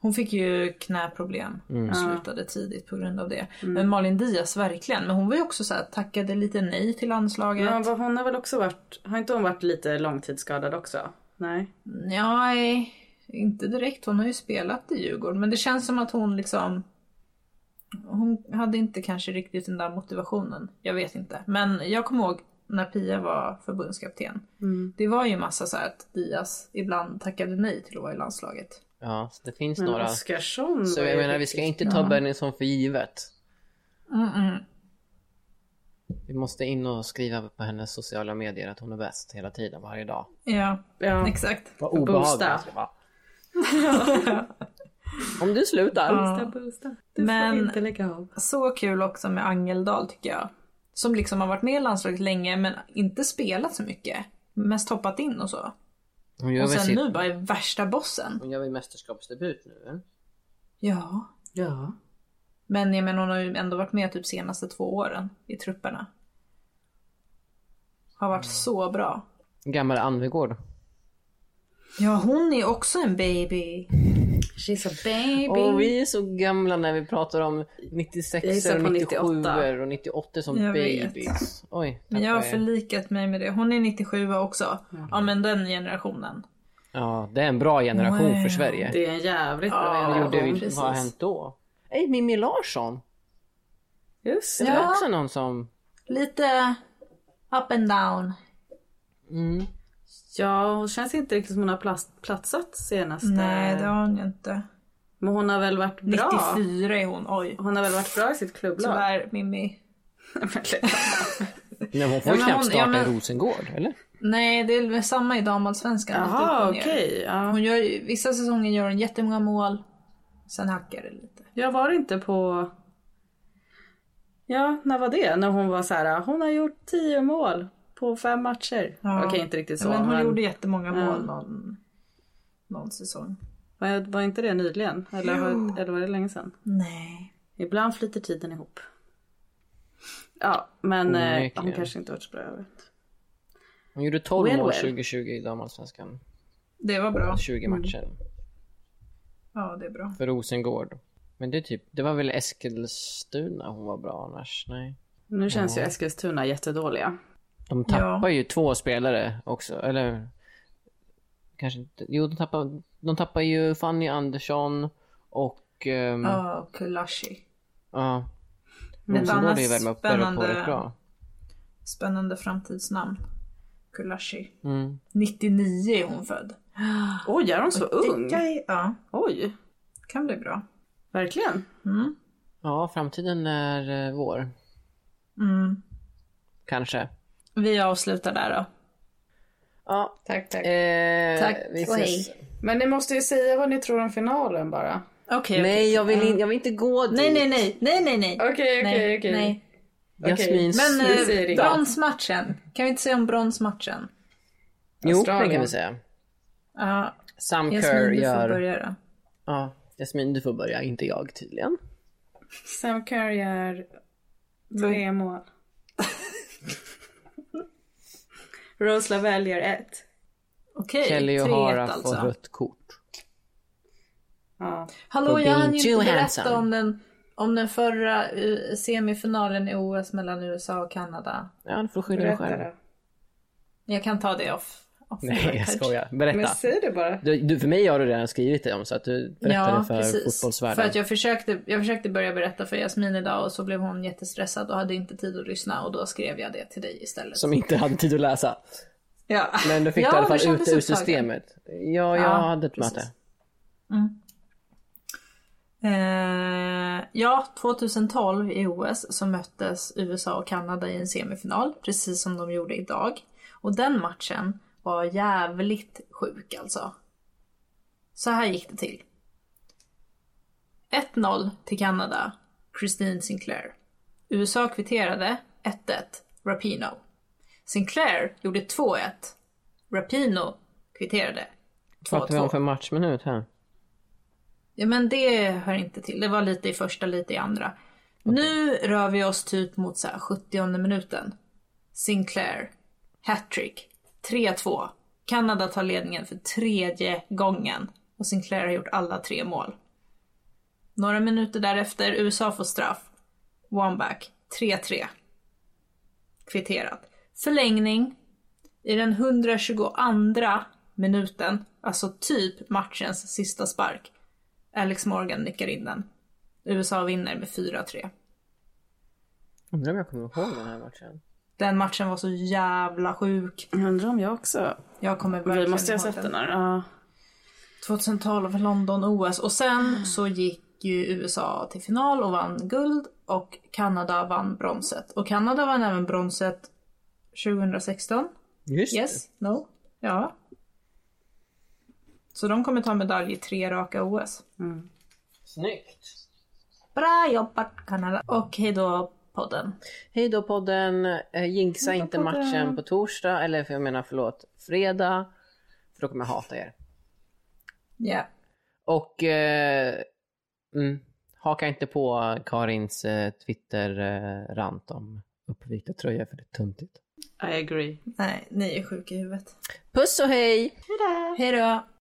[SPEAKER 6] Hon fick ju knäproblem och slutade tidigt på grund av det.
[SPEAKER 7] Mm.
[SPEAKER 6] Men Malin Diaz verkligen. Men hon var ju också så här, tackade lite nej till landslaget.
[SPEAKER 7] Men vad- hon har väl också varit, har inte hon varit lite långtidsskadad också? Nej.
[SPEAKER 6] Nej, inte direkt. Hon har ju spelat i Djurgården. Men det känns som att hon liksom... Hon hade inte kanske riktigt den där motivationen. Jag vet inte. Men jag kommer ihåg när Pia var förbundskapten. Det var ju massa så här att Diaz ibland tackade nej till att vara i landslaget.
[SPEAKER 5] Ja, så det finns
[SPEAKER 7] Men
[SPEAKER 5] några.
[SPEAKER 7] Oskarsson
[SPEAKER 5] Så
[SPEAKER 7] var
[SPEAKER 5] jag
[SPEAKER 7] ju
[SPEAKER 5] menar vi ska
[SPEAKER 7] riktigt-
[SPEAKER 5] inte ta Bennison för givet.
[SPEAKER 6] Mm-mm.
[SPEAKER 5] Vi måste in och skriva på hennes sociala medier att hon är bäst hela tiden, varje dag.
[SPEAKER 6] Ja,
[SPEAKER 7] Ja.
[SPEAKER 6] exakt.
[SPEAKER 5] Vad
[SPEAKER 7] Boosta.
[SPEAKER 5] obehagligt det ska vara. <laughs> Om du slutar.
[SPEAKER 7] Boosta, boosta. Du
[SPEAKER 6] Men-
[SPEAKER 7] får inte lägga av.
[SPEAKER 6] Så kul också med Angeldal tycker jag. Som liksom har varit med i landslaget länge men inte spelat så mycket. Mest hoppat in och så.
[SPEAKER 5] Hon gör
[SPEAKER 6] Och
[SPEAKER 5] väl
[SPEAKER 6] sen
[SPEAKER 5] sitt...
[SPEAKER 6] nu bara är värsta bossen.
[SPEAKER 5] Hon gör väl mästerskapsdebut nu? eller?
[SPEAKER 6] Ja.
[SPEAKER 7] Ja.
[SPEAKER 6] Men jag menar hon har ju ändå varit med typ senaste två åren i trupperna. Har varit så bra.
[SPEAKER 5] Gammal Anvegård.
[SPEAKER 6] Ja hon är också en baby.
[SPEAKER 7] She's a baby.
[SPEAKER 5] Och vi är så gamla när vi pratar om 96
[SPEAKER 7] Jag
[SPEAKER 5] och
[SPEAKER 7] gissar på
[SPEAKER 5] 97
[SPEAKER 7] 98.
[SPEAKER 5] och 98 som
[SPEAKER 6] Jag vet.
[SPEAKER 5] babies. Oj,
[SPEAKER 6] Men jag har
[SPEAKER 5] tappade jag.
[SPEAKER 6] förlikat mig med det. Hon är 97 också. Ja men den generationen.
[SPEAKER 5] Ja, det är en bra generation
[SPEAKER 6] Wow.
[SPEAKER 5] för Sverige.
[SPEAKER 7] Det är en jävligt bra
[SPEAKER 6] Ja,
[SPEAKER 5] Vad gjorde
[SPEAKER 7] generation.
[SPEAKER 5] vi? Vad har hänt då? Ej, Mimmi Larsson.
[SPEAKER 7] Just
[SPEAKER 5] Det
[SPEAKER 7] det.
[SPEAKER 5] var också någon som...
[SPEAKER 6] Lite Up and down.
[SPEAKER 5] Mm.
[SPEAKER 7] Ja, hon känns inte riktigt som hon har plats, platsat senaste.
[SPEAKER 6] Nej, det har hon ju inte.
[SPEAKER 7] Men hon har väl varit bra.
[SPEAKER 6] 94 är hon, oj.
[SPEAKER 7] Hon har väl varit bra i sitt klubblag.
[SPEAKER 6] Tyvärr Mimmi.
[SPEAKER 5] Nej, men hon får
[SPEAKER 6] Ja,
[SPEAKER 5] ju
[SPEAKER 6] men
[SPEAKER 5] knappt
[SPEAKER 6] hon-
[SPEAKER 5] starta
[SPEAKER 6] ja, men-
[SPEAKER 5] i Rosengård, eller?
[SPEAKER 6] Nej, det är väl samma i damallsvenskan. lite upp
[SPEAKER 7] Jaha,
[SPEAKER 6] och ner.
[SPEAKER 7] okej. Ja.
[SPEAKER 6] Hon gör, ju- vissa säsonger gör hon jättemånga mål, sen hackar det lite.
[SPEAKER 7] Jag var inte på... Ja, när var det? När hon var så här, hon har gjort tio mål på fem matcher.
[SPEAKER 6] Ja.
[SPEAKER 7] Okej, inte riktigt så.
[SPEAKER 6] men hon
[SPEAKER 7] men-
[SPEAKER 6] gjorde jättemånga
[SPEAKER 7] Ja.
[SPEAKER 6] mål någon, någon säsong.
[SPEAKER 7] Var, var inte det nyligen? Eller, har, eller var det länge sedan?
[SPEAKER 6] Nej.
[SPEAKER 7] Ibland flyter tiden ihop. Ja, men eh,
[SPEAKER 5] Onekligen.
[SPEAKER 7] hon kanske inte varit så bra. Jag vet.
[SPEAKER 5] Hon gjorde 12
[SPEAKER 7] Well,
[SPEAKER 5] mål
[SPEAKER 7] well.
[SPEAKER 5] 2020 i damallsvenskan.
[SPEAKER 6] Det var bra.
[SPEAKER 5] 20 matcher
[SPEAKER 6] Mm. Ja, det är
[SPEAKER 7] Mm.
[SPEAKER 6] bra.
[SPEAKER 5] för Rosengård. Men det, är typ, det var väl Eskilstuna hon var bra annars? Nej.
[SPEAKER 7] Nu känns ju Eskilstuna jättedåliga.
[SPEAKER 5] De tappar ju två spelare också, eller? Kanske inte. Jo, de tappar, de tappar ju Fanny Andersson och... ehm, Ja.
[SPEAKER 6] Ja, Kulashi.
[SPEAKER 5] Rosengård är ju
[SPEAKER 6] annat
[SPEAKER 5] värma upp och på
[SPEAKER 6] spännande-
[SPEAKER 5] rätt bra.
[SPEAKER 6] Spännande framtidsnamn. Kulashi.
[SPEAKER 5] Mm.
[SPEAKER 6] 99 är hon född.
[SPEAKER 7] Oj, är hon så ung?
[SPEAKER 6] Dicka- Ja,
[SPEAKER 7] Oj,
[SPEAKER 6] kan bli bra.
[SPEAKER 7] verkligen.
[SPEAKER 6] Mm.
[SPEAKER 5] Ja, framtiden är eh, vår.
[SPEAKER 6] Mm.
[SPEAKER 5] Kanske.
[SPEAKER 6] Vi avslutar där då.
[SPEAKER 5] Ja,
[SPEAKER 7] Tack, tack.
[SPEAKER 5] eh,
[SPEAKER 6] Tack
[SPEAKER 5] vi
[SPEAKER 6] och
[SPEAKER 5] ses.
[SPEAKER 7] Men ni måste ju säga vad ni tror om finalen bara.
[SPEAKER 6] Okej.
[SPEAKER 5] Nej, jag vill, in, jag vill inte gå dit.
[SPEAKER 6] Nej, nej, nej, nej, nej, nej.
[SPEAKER 7] Okej,
[SPEAKER 6] nej,
[SPEAKER 7] okej, okej.
[SPEAKER 6] nej.
[SPEAKER 5] Jasmin,
[SPEAKER 6] Men
[SPEAKER 5] sluta.
[SPEAKER 6] eh,
[SPEAKER 7] säger inget.
[SPEAKER 6] bronsmatchen. Kan vi inte säga om bronsmatchen?
[SPEAKER 5] Jo, det
[SPEAKER 7] Australien.
[SPEAKER 5] kan vi säga.
[SPEAKER 6] Ja,
[SPEAKER 5] Sam Kerr
[SPEAKER 6] Jasmin du får
[SPEAKER 5] gör...
[SPEAKER 6] börja då.
[SPEAKER 5] Ja, Jasmin, du får börja. Inte jag tydligen.
[SPEAKER 7] Sam Curry gör tre mål. Rose Lavelle gör ett.
[SPEAKER 6] Okej,
[SPEAKER 5] Kelly och
[SPEAKER 6] 3-1
[SPEAKER 5] Hara får
[SPEAKER 6] alltså.
[SPEAKER 5] rött kort.
[SPEAKER 7] Ja.
[SPEAKER 6] Hallå,
[SPEAKER 5] for
[SPEAKER 6] jag hann
[SPEAKER 5] being
[SPEAKER 6] ju
[SPEAKER 5] too
[SPEAKER 6] inte
[SPEAKER 5] handsome.
[SPEAKER 6] berätta om den, om den förra eh, semifinalen i OS mellan USA och Kanada.
[SPEAKER 5] Ja, du får skylla dig
[SPEAKER 7] Berätta
[SPEAKER 5] själv.
[SPEAKER 7] då.
[SPEAKER 6] Jag kan ta det off. off
[SPEAKER 5] Nej, jag
[SPEAKER 6] record.
[SPEAKER 5] skojar.
[SPEAKER 7] Men
[SPEAKER 5] Berätta.
[SPEAKER 7] säg det bara.
[SPEAKER 5] Du, du, för mig har du redan skrivit det om så att du berättar det för fotbollsvärlden.
[SPEAKER 6] För att jag försökte, jag försökte börja berätta för Jasmin idag och så blev hon jättestressad och hade inte tid att lyssna och då skrev jag det till dig istället.
[SPEAKER 5] Som inte hade tid att läsa.
[SPEAKER 6] Ja.
[SPEAKER 5] Men du fick
[SPEAKER 6] Ja,
[SPEAKER 5] det i alla
[SPEAKER 6] men
[SPEAKER 5] fall ut
[SPEAKER 6] kändes
[SPEAKER 5] ur
[SPEAKER 6] upptagen.
[SPEAKER 5] systemet. Ja, jag
[SPEAKER 6] Ja,
[SPEAKER 5] hade ett
[SPEAKER 6] precis.
[SPEAKER 5] möte.
[SPEAKER 6] Eh, ja, 2012 i OS så möttes USA och Kanada i en semifinal, precis som de gjorde idag. Och den matchen var jävligt sjuk alltså. Så här gick det till. 1-0 till Kanada, Christine Sinclair. USA kvitterade 1-1, Rapino. Sinclair gjorde 2-1, Rapino kvitterade
[SPEAKER 5] Pratar vi om för matchminut här?
[SPEAKER 6] Ja men det hör inte till. Det var lite i första, lite i andra. Nu rör vi oss typ mot så här 70 minuten. Sinclair, hattrick, 3-2. Kanada tar ledningen för tredje gången och Sinclair har gjort alla tre mål. Några minuter därefter, USA får straff. One back, 3-3. Kvitterat. Förlängning, i den 122 minuten, alltså typ matchens sista spark, Alex Morgan nickar in den. USA vinner med 4-3.
[SPEAKER 5] Undrar om jag kommer ihåg den här matchen.
[SPEAKER 6] Den matchen var så jävla sjuk.
[SPEAKER 7] Jag Undrar om jag också.
[SPEAKER 6] Jag kommer verkligen
[SPEAKER 7] Vi måste ju ha
[SPEAKER 6] ihåg
[SPEAKER 7] sett den här. Ja.
[SPEAKER 6] 2012 London-OS och
[SPEAKER 7] Mm.
[SPEAKER 6] sen så gick ju USA till final och vann guld och Kanada vann bronset. Och Kanada vann även bronset 2016.
[SPEAKER 5] Just
[SPEAKER 6] Yes? No? Ja. Så de kommer ta medalj i tre raka OS.
[SPEAKER 5] det. Snyggt.
[SPEAKER 6] Bra jobbat Kanada! Och hejdå podden.
[SPEAKER 5] Hej då podden. Eh, Jinxa inte matchen på torsdag, eller för jag menar förlåt, fredag. För då kommer jag hata er.
[SPEAKER 6] Ja.
[SPEAKER 5] Och eh, mm, haka inte på Karins eh, Twitter-rant om uppvikta tröjor för det är tuntigt.
[SPEAKER 7] I agree.
[SPEAKER 6] Nej, ni är sjuka i huvudet.
[SPEAKER 5] Puss och hej!
[SPEAKER 6] Hej då!